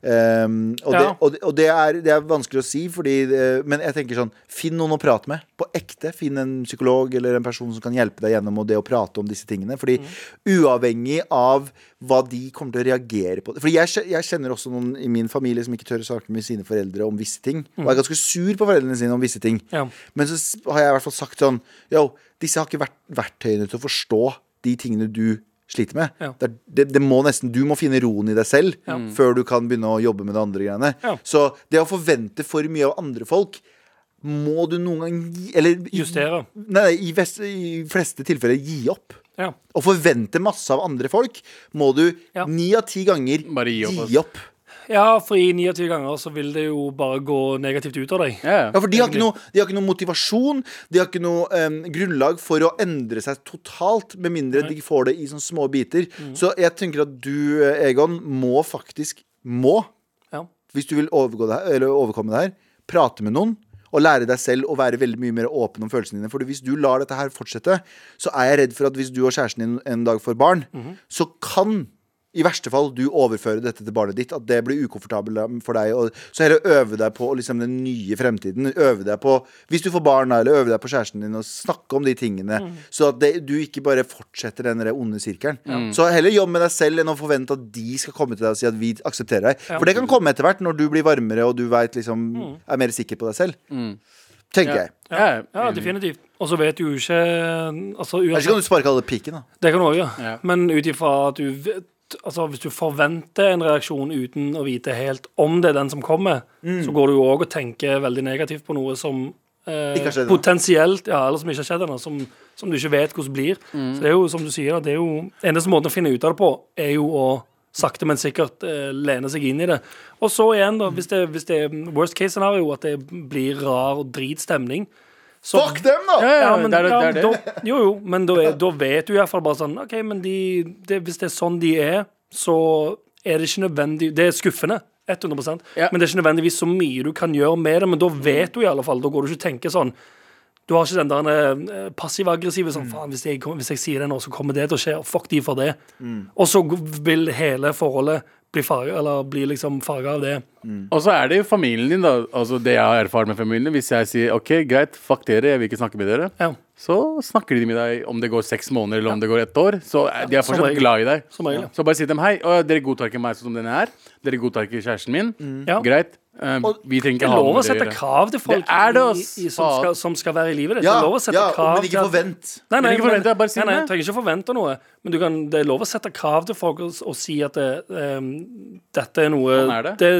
[SPEAKER 4] Ehm, og det,
[SPEAKER 3] Ja.
[SPEAKER 4] og, det- og det, er, det er vanskelig å si, fordi, eh, men jeg tenker sånn Finn noen å prate med. På ekte. Finn en psykolog eller en person som kan hjelpe deg gjennom og det å prate om disse tingene. Fordi uavhengig av hva de kommer til å reagere på Fordi jeg, kje- jeg kjenner også noen i min familie som ikke tør å snakke med sine foreldre om visse ting. Og er ganske sur på foreldrene sine om visse ting.
[SPEAKER 3] Ja.
[SPEAKER 4] Men så s- har jeg i hvert fall sagt sånn Yo, disse har ikke vært verktøyene til å forstå de tingene du sliter med.
[SPEAKER 3] Ja.
[SPEAKER 4] Det, er- det, det må nesten, Du må finne roen i deg selv
[SPEAKER 2] Mm.
[SPEAKER 4] før du kan begynne å jobbe med det andre greiene.
[SPEAKER 3] Ja.
[SPEAKER 4] Så det å forvente for mye av andre folk må du noen gang gi, eller, i-
[SPEAKER 3] Justere.
[SPEAKER 4] Nei, nei, i, vest, I fleste tilfeller gi opp.
[SPEAKER 3] Ja.
[SPEAKER 4] Å forvente masse av andre folk må du
[SPEAKER 3] Ja.
[SPEAKER 4] ni av ti ganger
[SPEAKER 2] Bare gi opp, altså.
[SPEAKER 4] opp.
[SPEAKER 3] Ja, for i 29 ganger så vil det jo bare gå negativt ut av deg.
[SPEAKER 2] Ja,
[SPEAKER 4] Ja,
[SPEAKER 2] ja.
[SPEAKER 4] for de har, ikke noe, de har ikke noe motivasjon, de har ikke noe em, grunnlag for å endre seg totalt, med mindre de får det i sånne små biter. Så jeg tenker at du, eh, Egon, må faktisk, må,
[SPEAKER 3] Ja.
[SPEAKER 4] hvis du vil overgå det her, eller overkomme det her, prate med noen, og lære deg selv å være veldig mye mer åpen om følelsene dine. For hvis du lar dette her fortsette, så er jeg redd for at hvis du og kjæresten din en dag får barn, så kan i verste fall du overfører dette til barnet ditt. At det blir ukomfortabelt for deg. Og, så heller øve deg på liksom, den nye fremtiden. Øve deg på, Hvis du får barn, da, eller øve deg på kjæresten din, og snakke om de tingene.
[SPEAKER 3] Mm.
[SPEAKER 4] Så at det, du ikke bare fortsetter den der onde sirkelen. Så heller jobb med deg selv enn å forvente at de skal komme til deg og si at vi aksepterer deg. For det kan komme etter hvert, når du blir varmere og du vet, liksom, er mer sikker på deg selv. Tenker jeg.
[SPEAKER 2] Ja, ja.
[SPEAKER 3] Mm. Ja, definitivt. Og så vet du jo ikke altså,
[SPEAKER 4] Ellers kan
[SPEAKER 3] uansett,
[SPEAKER 4] du sparke alle pikken, da.
[SPEAKER 3] Det kan du òg gjøre.
[SPEAKER 2] Ja.
[SPEAKER 3] Men ut ifra at du vet Altså, Hvis du forventer en reaksjon uten å vite helt om det er den som kommer,
[SPEAKER 4] Mm.
[SPEAKER 3] så går du jo òg og tenker veldig negativt på noe som eh,
[SPEAKER 4] Ikke har skjedd ennå.
[SPEAKER 3] potensielt Ja, eller som ikke har skjedd ennå, som, som du ikke vet hvordan blir.
[SPEAKER 4] Mm.
[SPEAKER 3] Så det er jo, som du sier, da, det er jo eneste måten å finne ut av det på, er jo å sakte, men sikkert eh, lene seg inn i det. Og så igjen, da, hvis det, hvis det er worst case scenario, at det blir rar og drit stemning, så
[SPEAKER 4] Fuck dem, da!
[SPEAKER 2] ja, ja,
[SPEAKER 3] ja, men,
[SPEAKER 2] det er det-
[SPEAKER 3] ja,
[SPEAKER 2] det er det.
[SPEAKER 3] men Da, jo, jo, men da, er, da vet du i hvert fall bare sånn OK, men de, det, hvis det er sånn de er, så er det ikke nødvendig Det er skuffende. 100
[SPEAKER 2] Ja.
[SPEAKER 3] Men det er ikke nødvendigvis så mye du kan gjøre med det. Men da vet du i alle fall. Da går du ikke og tenker sånn Du har ikke den der eh, passiv-aggressive sånn Faen, hvis jeg, kom- hvis jeg sier det nå, så kommer det til å skje. og Fuck de for det.
[SPEAKER 2] Mm.
[SPEAKER 3] Og så g- vil hele forholdet bli farga, eller bli liksom farga av det.
[SPEAKER 2] Og så er det jo familien din, da. Altså det jeg har erfart med familien. Hvis jeg sier OK, greit, fuck dere, jeg vil ikke snakke med dere.
[SPEAKER 3] Ja.
[SPEAKER 2] så snakker de med deg om det går seks måneder eller om det går ett år. Så eh, de er
[SPEAKER 3] som
[SPEAKER 2] fortsatt
[SPEAKER 3] regel.
[SPEAKER 2] glad i deg.
[SPEAKER 3] Som regel, ja.
[SPEAKER 2] Så bare si til dem hei. Å, dere godtar ikke meg sånn som den er. Dere godtar ikke kjæresten min.
[SPEAKER 3] Ja.
[SPEAKER 2] Greit. eh, vi trenger
[SPEAKER 3] Det
[SPEAKER 2] ikke
[SPEAKER 3] er
[SPEAKER 2] ha noe
[SPEAKER 3] lov å
[SPEAKER 2] med det å
[SPEAKER 3] sette
[SPEAKER 2] gjøre.
[SPEAKER 3] krav til folk
[SPEAKER 2] Det er det,
[SPEAKER 3] i,
[SPEAKER 2] ass.
[SPEAKER 3] i, som,
[SPEAKER 2] Faen.
[SPEAKER 3] skal, som skal være i livet ditt.
[SPEAKER 4] Ja,
[SPEAKER 3] det er lov å sette
[SPEAKER 4] ja,
[SPEAKER 3] krav
[SPEAKER 4] men ikke
[SPEAKER 3] til at-
[SPEAKER 4] forvent.
[SPEAKER 3] Nei, nei,
[SPEAKER 2] Men ikke forvent, det er bare si
[SPEAKER 3] nei, nei,
[SPEAKER 2] det.
[SPEAKER 3] trenger ikke forvente noe. Men du kan, det er lov å sette krav til folk og, s- og si at det, ehm, dette er noe
[SPEAKER 2] Sånn er det.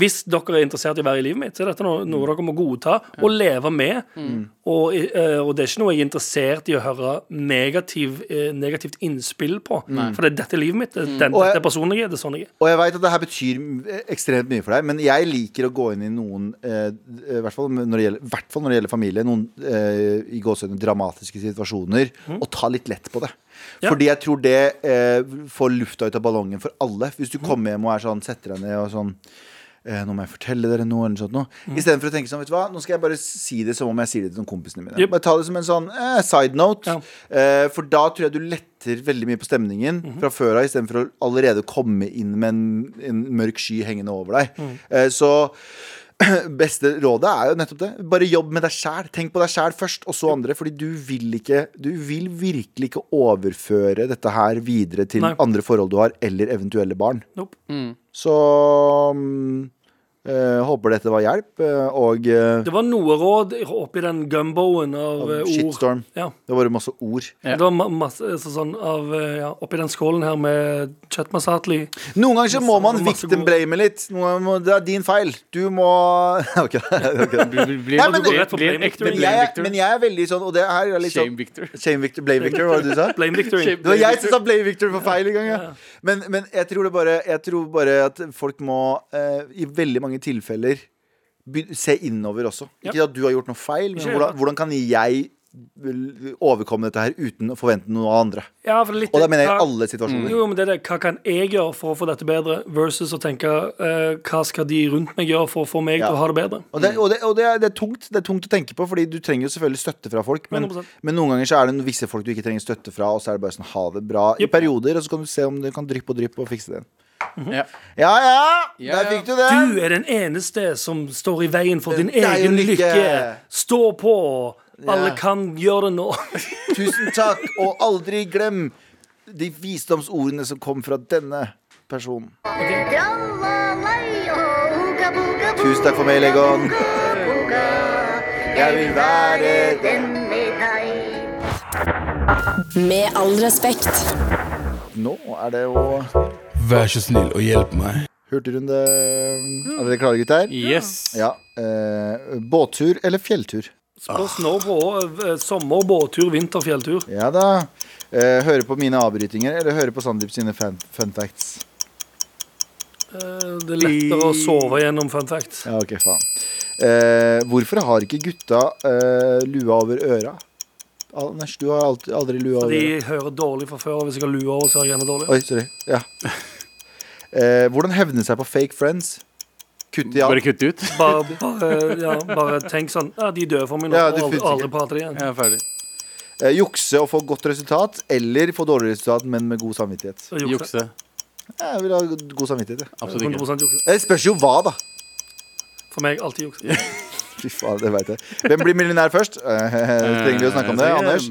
[SPEAKER 3] Hvis dere er interessert i å være i livet mitt, så er dette noe, noe dere må godta og leve med.
[SPEAKER 2] Mm.
[SPEAKER 3] Og, i- eh, og det er ikke noe jeg er interessert i å høre negativ, eh, negativt innspill på. For det er dette er livet mitt. Det
[SPEAKER 2] Mm.
[SPEAKER 3] er den,
[SPEAKER 4] Og jeg-
[SPEAKER 3] dette er personen jeg er. Det er sånn jeg er.
[SPEAKER 4] Og jeg veit at det her betyr ekstremt mye for deg, men jeg liker å gå inn i noen eh, eh, hvert fall når det gjelder, hvert fall når det gjelder familie, noen eh, i gåsehudene dramatiske situasjoner, og ta litt lett på det.
[SPEAKER 3] Ja.
[SPEAKER 4] Fordi jeg tror det eh, får lufta ut av ballongen for alle. Hvis du kommer hjem og er sånn, setter deg ned og sånn eh, nå må jeg fortelle dere noe, eller sånt noe.
[SPEAKER 3] Mm.
[SPEAKER 4] Istedenfor å tenke sånn, vet du hva, nå skal jeg bare si det som om jeg sier det til kompisene mine.
[SPEAKER 3] Yep.
[SPEAKER 4] Bare ta det som en sånn eh, side note.
[SPEAKER 3] Ja.
[SPEAKER 4] Eh, for da tror jeg du letter veldig mye på stemningen
[SPEAKER 3] Mhm.
[SPEAKER 4] fra før av, istedenfor å allerede komme inn med en, en mørk sky hengende over deg.
[SPEAKER 3] Mm.
[SPEAKER 4] Eh, så beste rådet er jo nettopp det. Bare jobb med deg sjæl. Tenk på deg sjæl først, og så andre. Fordi du vil ikke Du vil virkelig ikke overføre dette her videre til
[SPEAKER 3] Nei.
[SPEAKER 4] andre forhold du har, eller eventuelle barn.
[SPEAKER 3] Nope.
[SPEAKER 4] Så mm, eh, håper dette var hjelp, eh, og eh,
[SPEAKER 3] Det var noe råd oppi den gumboen av eh, ord.
[SPEAKER 4] shitstorm.
[SPEAKER 3] Ja.
[SPEAKER 4] Det var masse ord.
[SPEAKER 2] Ja.
[SPEAKER 3] Det var ma- masse altså sånn av eh, ja, Oppi den skålen her med Chet Masatli.
[SPEAKER 4] Noen ganger så må man
[SPEAKER 3] Masse
[SPEAKER 4] victim
[SPEAKER 3] gode-
[SPEAKER 4] blame litt. Noen ganger må, det er din feil. Du må Ok. ok.
[SPEAKER 2] Blir, blir,
[SPEAKER 4] Nei, men-
[SPEAKER 2] blir,
[SPEAKER 3] Rett på
[SPEAKER 2] blir en
[SPEAKER 3] blame
[SPEAKER 2] ekte
[SPEAKER 3] victory.
[SPEAKER 4] Men
[SPEAKER 2] blame
[SPEAKER 4] jeg,
[SPEAKER 2] victor.
[SPEAKER 4] men jeg er veldig sånn, og det her er litt
[SPEAKER 2] Shame
[SPEAKER 4] sånn
[SPEAKER 2] victor.
[SPEAKER 4] Shame victor, blame victor, var det du sa?
[SPEAKER 3] Blame Victory.
[SPEAKER 4] Det var jeg som sa Blame Victor for feil en gang, ja. Men, men jeg, tror det bare, jeg tror bare at folk må, eh, i veldig mange tilfeller, be, se innover også. Ikke at du har gjort noe feil, men
[SPEAKER 3] Ikke
[SPEAKER 4] hvordan,
[SPEAKER 3] det.
[SPEAKER 4] hvordan kan jeg vel overkomme dette her uten å forvente noe av andre?
[SPEAKER 3] Ja, Mm. for det er litt,
[SPEAKER 4] Og da mener jeg
[SPEAKER 3] hva-
[SPEAKER 4] i alle situasjoner.
[SPEAKER 3] Jo, men det er det. Hva kan jeg gjøre for å få dette bedre, versus å tenke eh, hva skal de rundt meg gjøre for å få meg
[SPEAKER 4] Ja.
[SPEAKER 3] til å ha det bedre?
[SPEAKER 4] Og, det, og, det, og det, er, det, er tungt, det er tungt å tenke på, Fordi du trenger jo selvfølgelig støtte fra folk. Men,
[SPEAKER 3] 100%.
[SPEAKER 4] men noen ganger så er det noen visse folk du ikke trenger støtte fra, og så er det bare sånn ha det bra i
[SPEAKER 3] Yep.
[SPEAKER 4] perioder, og så kan du se om du kan dryppe og dryppe og fikse det.
[SPEAKER 2] Ja.
[SPEAKER 4] Ja ja,
[SPEAKER 2] Ja, ja.
[SPEAKER 4] der fikk du det!
[SPEAKER 3] Du er den eneste som står i veien for din
[SPEAKER 4] Det er jo
[SPEAKER 3] egen
[SPEAKER 4] lykke.
[SPEAKER 3] lykke. Stå på! Alle
[SPEAKER 4] Ja.
[SPEAKER 3] kan gjøre det nå.
[SPEAKER 4] Tusen takk, og aldri glem de visdomsordene som kom fra denne personen. Tusen takk for meg, Legon. Jeg vil være den
[SPEAKER 5] Med all respekt.
[SPEAKER 4] Nå er det jo
[SPEAKER 8] Vær så snill og hjelp meg.
[SPEAKER 4] hurtigrunde. Er dere klare, gutter?
[SPEAKER 2] Yes.
[SPEAKER 4] Ja. Eh, båttur eller fjelltur?
[SPEAKER 3] Spørs nå på eh, sommer, båttur, vinter, fjelltur.
[SPEAKER 4] Ja da. Eh, høre på mine avbrytinger eller høre på Sandeep sine fun, fun facts?
[SPEAKER 3] Eh, Det er lettere å sove gjennom fun fact.
[SPEAKER 4] Ja, ok, faen. Eh, hvorfor har ikke gutta eh, lua over øra? Anders, du har alt- aldri lua over
[SPEAKER 3] De
[SPEAKER 4] øra.
[SPEAKER 3] hører dårlig fra før, og hvis jeg har lue over, så hører jeg enda dårligere.
[SPEAKER 4] Oi, sorry. Ja. Eh, hvordan hevne seg på fake friends? Kutte i
[SPEAKER 2] Bare
[SPEAKER 4] alt.
[SPEAKER 2] kutt ut.
[SPEAKER 3] Bare, bare, ja, bare tenk sånn Ja, de er døde for meg nå,
[SPEAKER 4] Ja,
[SPEAKER 3] og
[SPEAKER 4] du
[SPEAKER 3] aldri,
[SPEAKER 4] finnes ikke.
[SPEAKER 3] aldri prater de igjen.
[SPEAKER 2] Jeg er ferdig.
[SPEAKER 4] Eh, jukse og få godt resultat, eller få dårlig resultat, men med god samvittighet.
[SPEAKER 3] Så jukse.
[SPEAKER 2] Jukse.
[SPEAKER 4] Ja, Jeg vil ha god samvittighet, jeg.
[SPEAKER 2] Absolutt ikke.
[SPEAKER 3] 100 jukse.
[SPEAKER 4] Det Eh, spørs jo hva, da.
[SPEAKER 3] For meg alltid jukse.
[SPEAKER 4] Fy faen, det vet jeg. Hvem blir millionær først? Eh, trenger vi å snakke om det,
[SPEAKER 2] Eh,
[SPEAKER 4] Anders?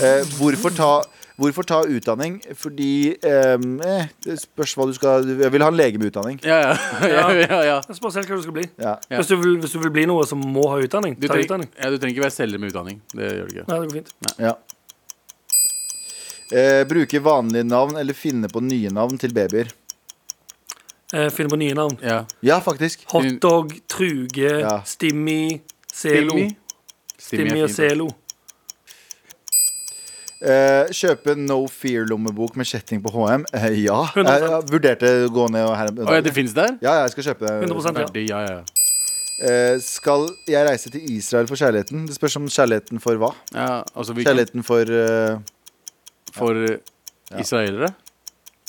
[SPEAKER 4] Eh, hvorfor, ta, hvorfor ta utdanning? Fordi eh, eh, Det spørs hva du skal Jeg vil ha en lege med utdanning.
[SPEAKER 2] Ja, ja. ja, ja, ja.
[SPEAKER 3] Det spørs helt hva du skal bli.
[SPEAKER 4] Ja.
[SPEAKER 2] Ja.
[SPEAKER 3] Hvis, du vil, hvis du vil bli noe som må ha utdanning,
[SPEAKER 2] Du,
[SPEAKER 3] ta
[SPEAKER 2] treng,
[SPEAKER 3] utdanning.
[SPEAKER 2] ja, du trenger ikke være selger med utdanning. Det gjør du ikke.
[SPEAKER 3] Nei, det går fint.
[SPEAKER 4] ja. Eh, bruke vanlige navn eller finne på nye navn til babyer.
[SPEAKER 3] Eh, Finne på nye navn.
[SPEAKER 2] Ja.
[SPEAKER 4] Ja, faktisk.
[SPEAKER 3] Hotdog, Truge,
[SPEAKER 4] Ja.
[SPEAKER 3] Stimmi, Zelo.
[SPEAKER 2] Stimmi. Stimmi
[SPEAKER 3] Stimmi
[SPEAKER 2] er
[SPEAKER 3] og
[SPEAKER 2] fint.
[SPEAKER 3] Zelo.
[SPEAKER 4] Eh, kjøpe No Fear-lommebok med kjetting på HM? Eh, ja. Jeg,
[SPEAKER 3] 100%.
[SPEAKER 4] jeg vurderte å gå ned og her
[SPEAKER 2] Å ja, det fins der?
[SPEAKER 4] ja, ja, jeg skal kjøpe det.
[SPEAKER 3] 100 ja.
[SPEAKER 2] Ferdig, ja, ja.
[SPEAKER 4] Eh, skal jeg reise til Israel for kjærligheten? Det spørs om kjærligheten for hva.
[SPEAKER 2] ja altså, vi kan,
[SPEAKER 4] Kjærligheten for, eh,
[SPEAKER 2] for eh, israelere?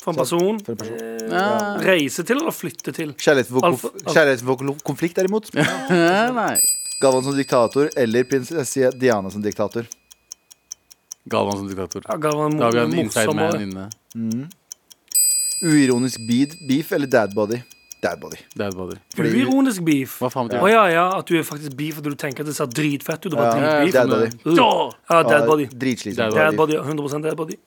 [SPEAKER 3] For en person.
[SPEAKER 4] for en person.
[SPEAKER 2] Ja.
[SPEAKER 3] Reise til eller flytte til?
[SPEAKER 4] Kjærligheten for,
[SPEAKER 3] Alf-
[SPEAKER 4] konf
[SPEAKER 3] Alf-
[SPEAKER 4] kjærligheten for konf- konflikt, derimot.
[SPEAKER 2] Nei.
[SPEAKER 4] Galvan som diktator eller prinsesse Diana som diktator.
[SPEAKER 2] Galvan som diktator.
[SPEAKER 3] Ja, ga meg
[SPEAKER 2] Da har vi en
[SPEAKER 3] en
[SPEAKER 2] inside man
[SPEAKER 3] morsommere.
[SPEAKER 2] inne.
[SPEAKER 4] Uironisk bead, beef eller dadbody. Dadbody.
[SPEAKER 2] Dadbody.
[SPEAKER 3] Uironisk beef.
[SPEAKER 2] Hva faen betyr
[SPEAKER 3] Å ja, ja, at du er faktisk beef fordi du tenker at det ser dritfett ut. Det
[SPEAKER 4] Ja,
[SPEAKER 3] var dritbeef.
[SPEAKER 2] ja,
[SPEAKER 4] Dadbody.
[SPEAKER 3] Ja, ja, dead body.
[SPEAKER 4] Dritsliten.
[SPEAKER 2] Dad
[SPEAKER 3] Dead body, 100 dead body.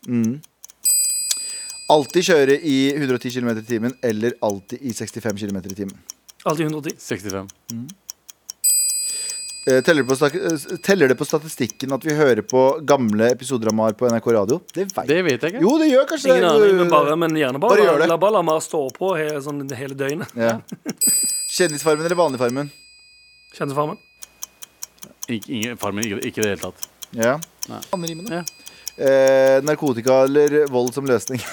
[SPEAKER 4] Alltid kjøre i 110 km i timen eller alltid i 65 km i timen.
[SPEAKER 3] Alltid 110.
[SPEAKER 2] 65.
[SPEAKER 4] Eh, Teller det, på stak- eh, teller det på statistikken at vi hører på gamle episoder av MAR på NRK radio? Det veit
[SPEAKER 2] Det vet jeg ikke.
[SPEAKER 4] Jo, det gjør kanskje
[SPEAKER 3] Ingen aning, men bare, men gjerne bare,
[SPEAKER 4] Uh. Bare gjør
[SPEAKER 3] la,
[SPEAKER 4] det.
[SPEAKER 3] la bare la meg stå på hele, sånn, hele døgnet.
[SPEAKER 4] Ja. Kjendisfarmen eller Vanligfarmen?
[SPEAKER 3] Kjendisfarmen.
[SPEAKER 2] Ik ingen, far min, ikke, ikke i det hele tatt.
[SPEAKER 4] Ja.
[SPEAKER 2] Ja.
[SPEAKER 4] Eh, narkotika eller vold som løsning?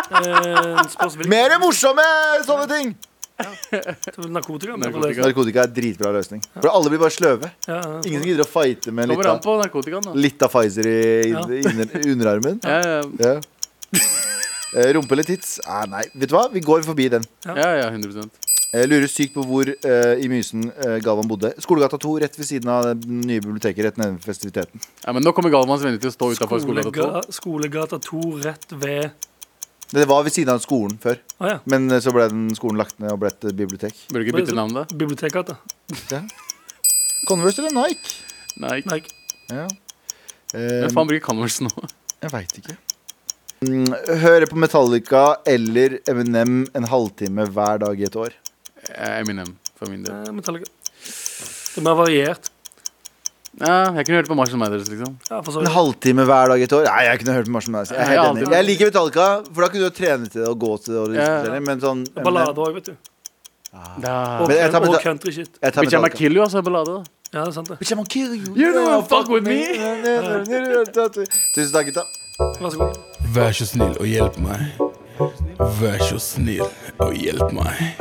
[SPEAKER 3] Eh, spørs hvilken
[SPEAKER 4] Mer morsomme sånne ting!
[SPEAKER 3] narkotika. men
[SPEAKER 2] Narkotika.
[SPEAKER 3] det-
[SPEAKER 4] Narkotika er dritbra løsning. For alle blir bare sløve.
[SPEAKER 3] Ja, ja.
[SPEAKER 4] Ingen som gidder å fighte med litt
[SPEAKER 2] Kommer an
[SPEAKER 4] av,
[SPEAKER 2] på narkotikaen, da.
[SPEAKER 4] litt av Pfizer i, i,
[SPEAKER 3] Ja.
[SPEAKER 4] i under, i underarmen.
[SPEAKER 2] Ja, ja,
[SPEAKER 4] Ja. Eh, Rumpe eller tits? Ah, nei, vet du hva? Vi går forbi den.
[SPEAKER 2] ja, ja 100
[SPEAKER 4] Jeg lurer sykt på hvor eh, i Mysen eh, Galvan bodde. Skolegata 2, rett ved siden av det nye biblioteket. Rett nede ved festiviteten.
[SPEAKER 2] ja, Men nå kommer Galvans venner til å stå utafor skolegata 2.
[SPEAKER 3] Skolega, skolegata 2 rett ved
[SPEAKER 4] Det var ved siden av skolen før,
[SPEAKER 3] Å ja.
[SPEAKER 4] men eh, så ble den skolen lagt ned og ble et eh, bibliotek.
[SPEAKER 2] Burde ikke bytte navn, da.
[SPEAKER 3] Bibliotekgata.
[SPEAKER 4] Converse eller Nike?
[SPEAKER 2] Nei. ikke-
[SPEAKER 3] Nei,
[SPEAKER 4] Ja.
[SPEAKER 2] Hvem faen bruker Converse nå?
[SPEAKER 4] Jeg veit ikke. Mm, Høre på Metallica eller Eminem en halvtime hver dag i et år.
[SPEAKER 2] Eh, Eminem, for min del.
[SPEAKER 3] eh, Metallica. Det er mer variert.
[SPEAKER 2] Ja, jeg kunne hørt på Marshall Mathers, liksom.
[SPEAKER 3] Ja, for så
[SPEAKER 4] En
[SPEAKER 3] vidt.
[SPEAKER 4] halvtime hver dag i et år? Nei, jeg kunne hørt på Marshall Mathers. altså. Jeg, er
[SPEAKER 2] Ja,
[SPEAKER 4] helt enig.
[SPEAKER 2] halvtime.
[SPEAKER 4] jeg liker Metallica, for da kunne du jo trene til det og gå til det. Og
[SPEAKER 2] Ja.
[SPEAKER 4] diskutere, men sånn
[SPEAKER 3] Ballade
[SPEAKER 4] Eminem,
[SPEAKER 3] òg, vet du.
[SPEAKER 2] Da.
[SPEAKER 3] Og,
[SPEAKER 4] Men jeg tar
[SPEAKER 3] og
[SPEAKER 4] Metallica.
[SPEAKER 3] country shit.
[SPEAKER 4] jeg tar
[SPEAKER 2] Bitch, I'm a
[SPEAKER 4] Metallica.
[SPEAKER 2] kill you, altså, en ballade. da.
[SPEAKER 3] Ja, det er sant det.
[SPEAKER 4] Bitch, I'm gonna kill you.
[SPEAKER 2] You don't wanna fuck with me.
[SPEAKER 4] Tusen takk, gutta.
[SPEAKER 3] Vær så god.
[SPEAKER 8] Vær så snill og hjelp meg. Vær så snill og hjelp meg.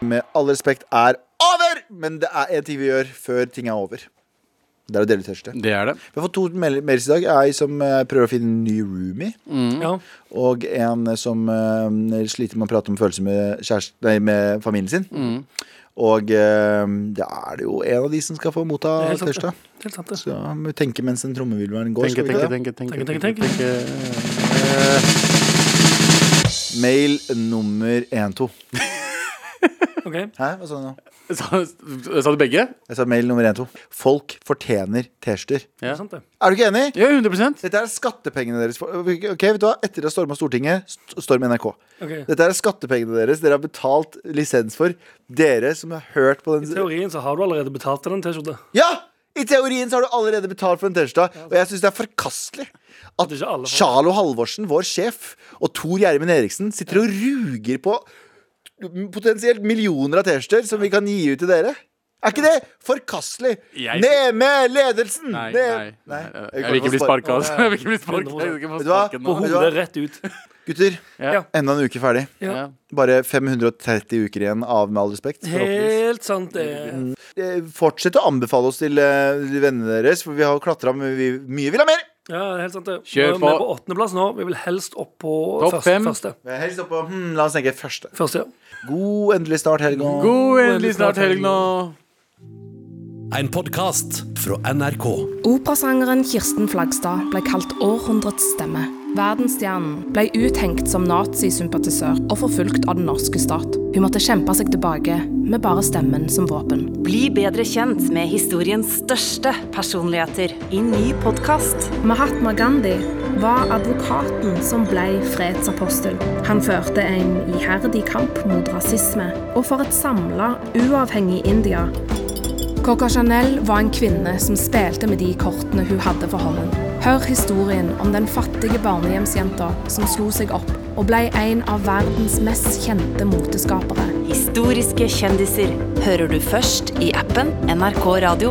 [SPEAKER 4] Med all respekt er over! Men det er en ting vi gjør før ting er over. Det er å dele ut T-skjorte.
[SPEAKER 2] Det er det.
[SPEAKER 4] Vi har fått to mel- mails i dag. Ei som eh, prøver å finne en ny roomie.
[SPEAKER 2] Mm.
[SPEAKER 3] Ja.
[SPEAKER 4] Og en som eh, sliter med å prate om følelser med, kjærest- nei, med familien sin.
[SPEAKER 3] Mm.
[SPEAKER 4] Og eh, da er det jo en av de som skal få motta
[SPEAKER 3] Det er helt sant,
[SPEAKER 4] T-skjorta.
[SPEAKER 3] Helt sant, det.
[SPEAKER 4] Så må vi tenke mens den trommevirvelen går.
[SPEAKER 2] Tenke,
[SPEAKER 4] skal vi
[SPEAKER 2] tenke,
[SPEAKER 4] ikke det?
[SPEAKER 2] tenke, tenke,
[SPEAKER 3] Tenke, tenke, tenke.
[SPEAKER 4] Mail nummer 12.
[SPEAKER 3] OK.
[SPEAKER 4] Hæ, hva sa du nå?
[SPEAKER 2] Sa, sa du begge?
[SPEAKER 4] Jeg sa mail nummer 12. Folk fortjener T-skjorter.
[SPEAKER 3] Det er sant, det.
[SPEAKER 4] Er du ikke enig?
[SPEAKER 2] Ja, 100
[SPEAKER 4] Dette er skattepengene deres. Ok, vet du hva? Etter å ha storma Stortinget, st- storm NRK.
[SPEAKER 3] Ok.
[SPEAKER 4] Dette er skattepengene deres. Dere har betalt lisens for. Dere som har hørt på
[SPEAKER 3] I
[SPEAKER 4] den
[SPEAKER 3] teorien så har du allerede betalt til den T-skjorta.
[SPEAKER 4] Ja! I teorien så har du allerede betalt for en T-skjorte, og jeg syns det er forkastelig at
[SPEAKER 3] Det er ikke alle folk.
[SPEAKER 4] Charlo Halvorsen, vår sjef, og Tor Gjermund Eriksen sitter og ruger på potensielt millioner av T-skjorter som vi kan gi ut til dere. Er ikke det forkastelig?
[SPEAKER 2] Jeg-
[SPEAKER 4] Ned med ledelsen!
[SPEAKER 2] Nei,
[SPEAKER 4] Ned-
[SPEAKER 2] nei, nei.
[SPEAKER 4] Nei,
[SPEAKER 2] Jeg vil ikke bli sparka, altså. Jeg vil ikke bli sparka. Jeg skal få
[SPEAKER 4] Vet du hva?
[SPEAKER 2] sparken
[SPEAKER 3] På
[SPEAKER 2] nå.
[SPEAKER 4] Vet du hva?
[SPEAKER 3] hodet rett ut.
[SPEAKER 4] Gutter,
[SPEAKER 2] Ja.
[SPEAKER 4] enda en uke ferdig.
[SPEAKER 2] Ja.
[SPEAKER 4] Bare 530 uker igjen av Med all respekt. forhåpentligvis.
[SPEAKER 3] Helt sant,
[SPEAKER 2] Mm.
[SPEAKER 3] det.
[SPEAKER 4] Eh, Fortsett å anbefale oss til eh, til vennene deres, for vi har klatra, men vi mye vil ha mer!
[SPEAKER 3] Ja, helt sant, det.
[SPEAKER 2] Kjør
[SPEAKER 3] Vi
[SPEAKER 2] på.
[SPEAKER 3] er på åttendeplass nå. Vi vil helst opp på
[SPEAKER 2] Topp
[SPEAKER 3] første.
[SPEAKER 2] fem.
[SPEAKER 3] første.
[SPEAKER 4] Helst oppå hmm, La oss tenke første.
[SPEAKER 3] første ja.
[SPEAKER 4] God endelig snart helg. og-
[SPEAKER 2] God endelig snart helg nå.
[SPEAKER 9] En podkast fra NRK.
[SPEAKER 10] Operasangeren Kirsten Flagstad ble kalt århundrets stemme. Verdensstjernen ble uthengt som nazisympatisør og forfulgt av den norske stat. Hun måtte kjempe seg tilbake med bare stemmen som våpen.
[SPEAKER 1] Bli bedre kjent med historiens største personligheter i ny podkast.
[SPEAKER 10] Mahatma Gandhi var advokaten som ble fredsapostel. Han førte en iherdig kamp mot rasisme og for et samla, uavhengig India. Coco Chanel var en kvinne som spilte med de kortene hun hadde for hånden. Hør historien om den fattige barnehjemsjenta som slo seg opp og ble en av verdens mest kjente moteskapere.
[SPEAKER 1] Historiske kjendiser hører du først i appen NRK Radio.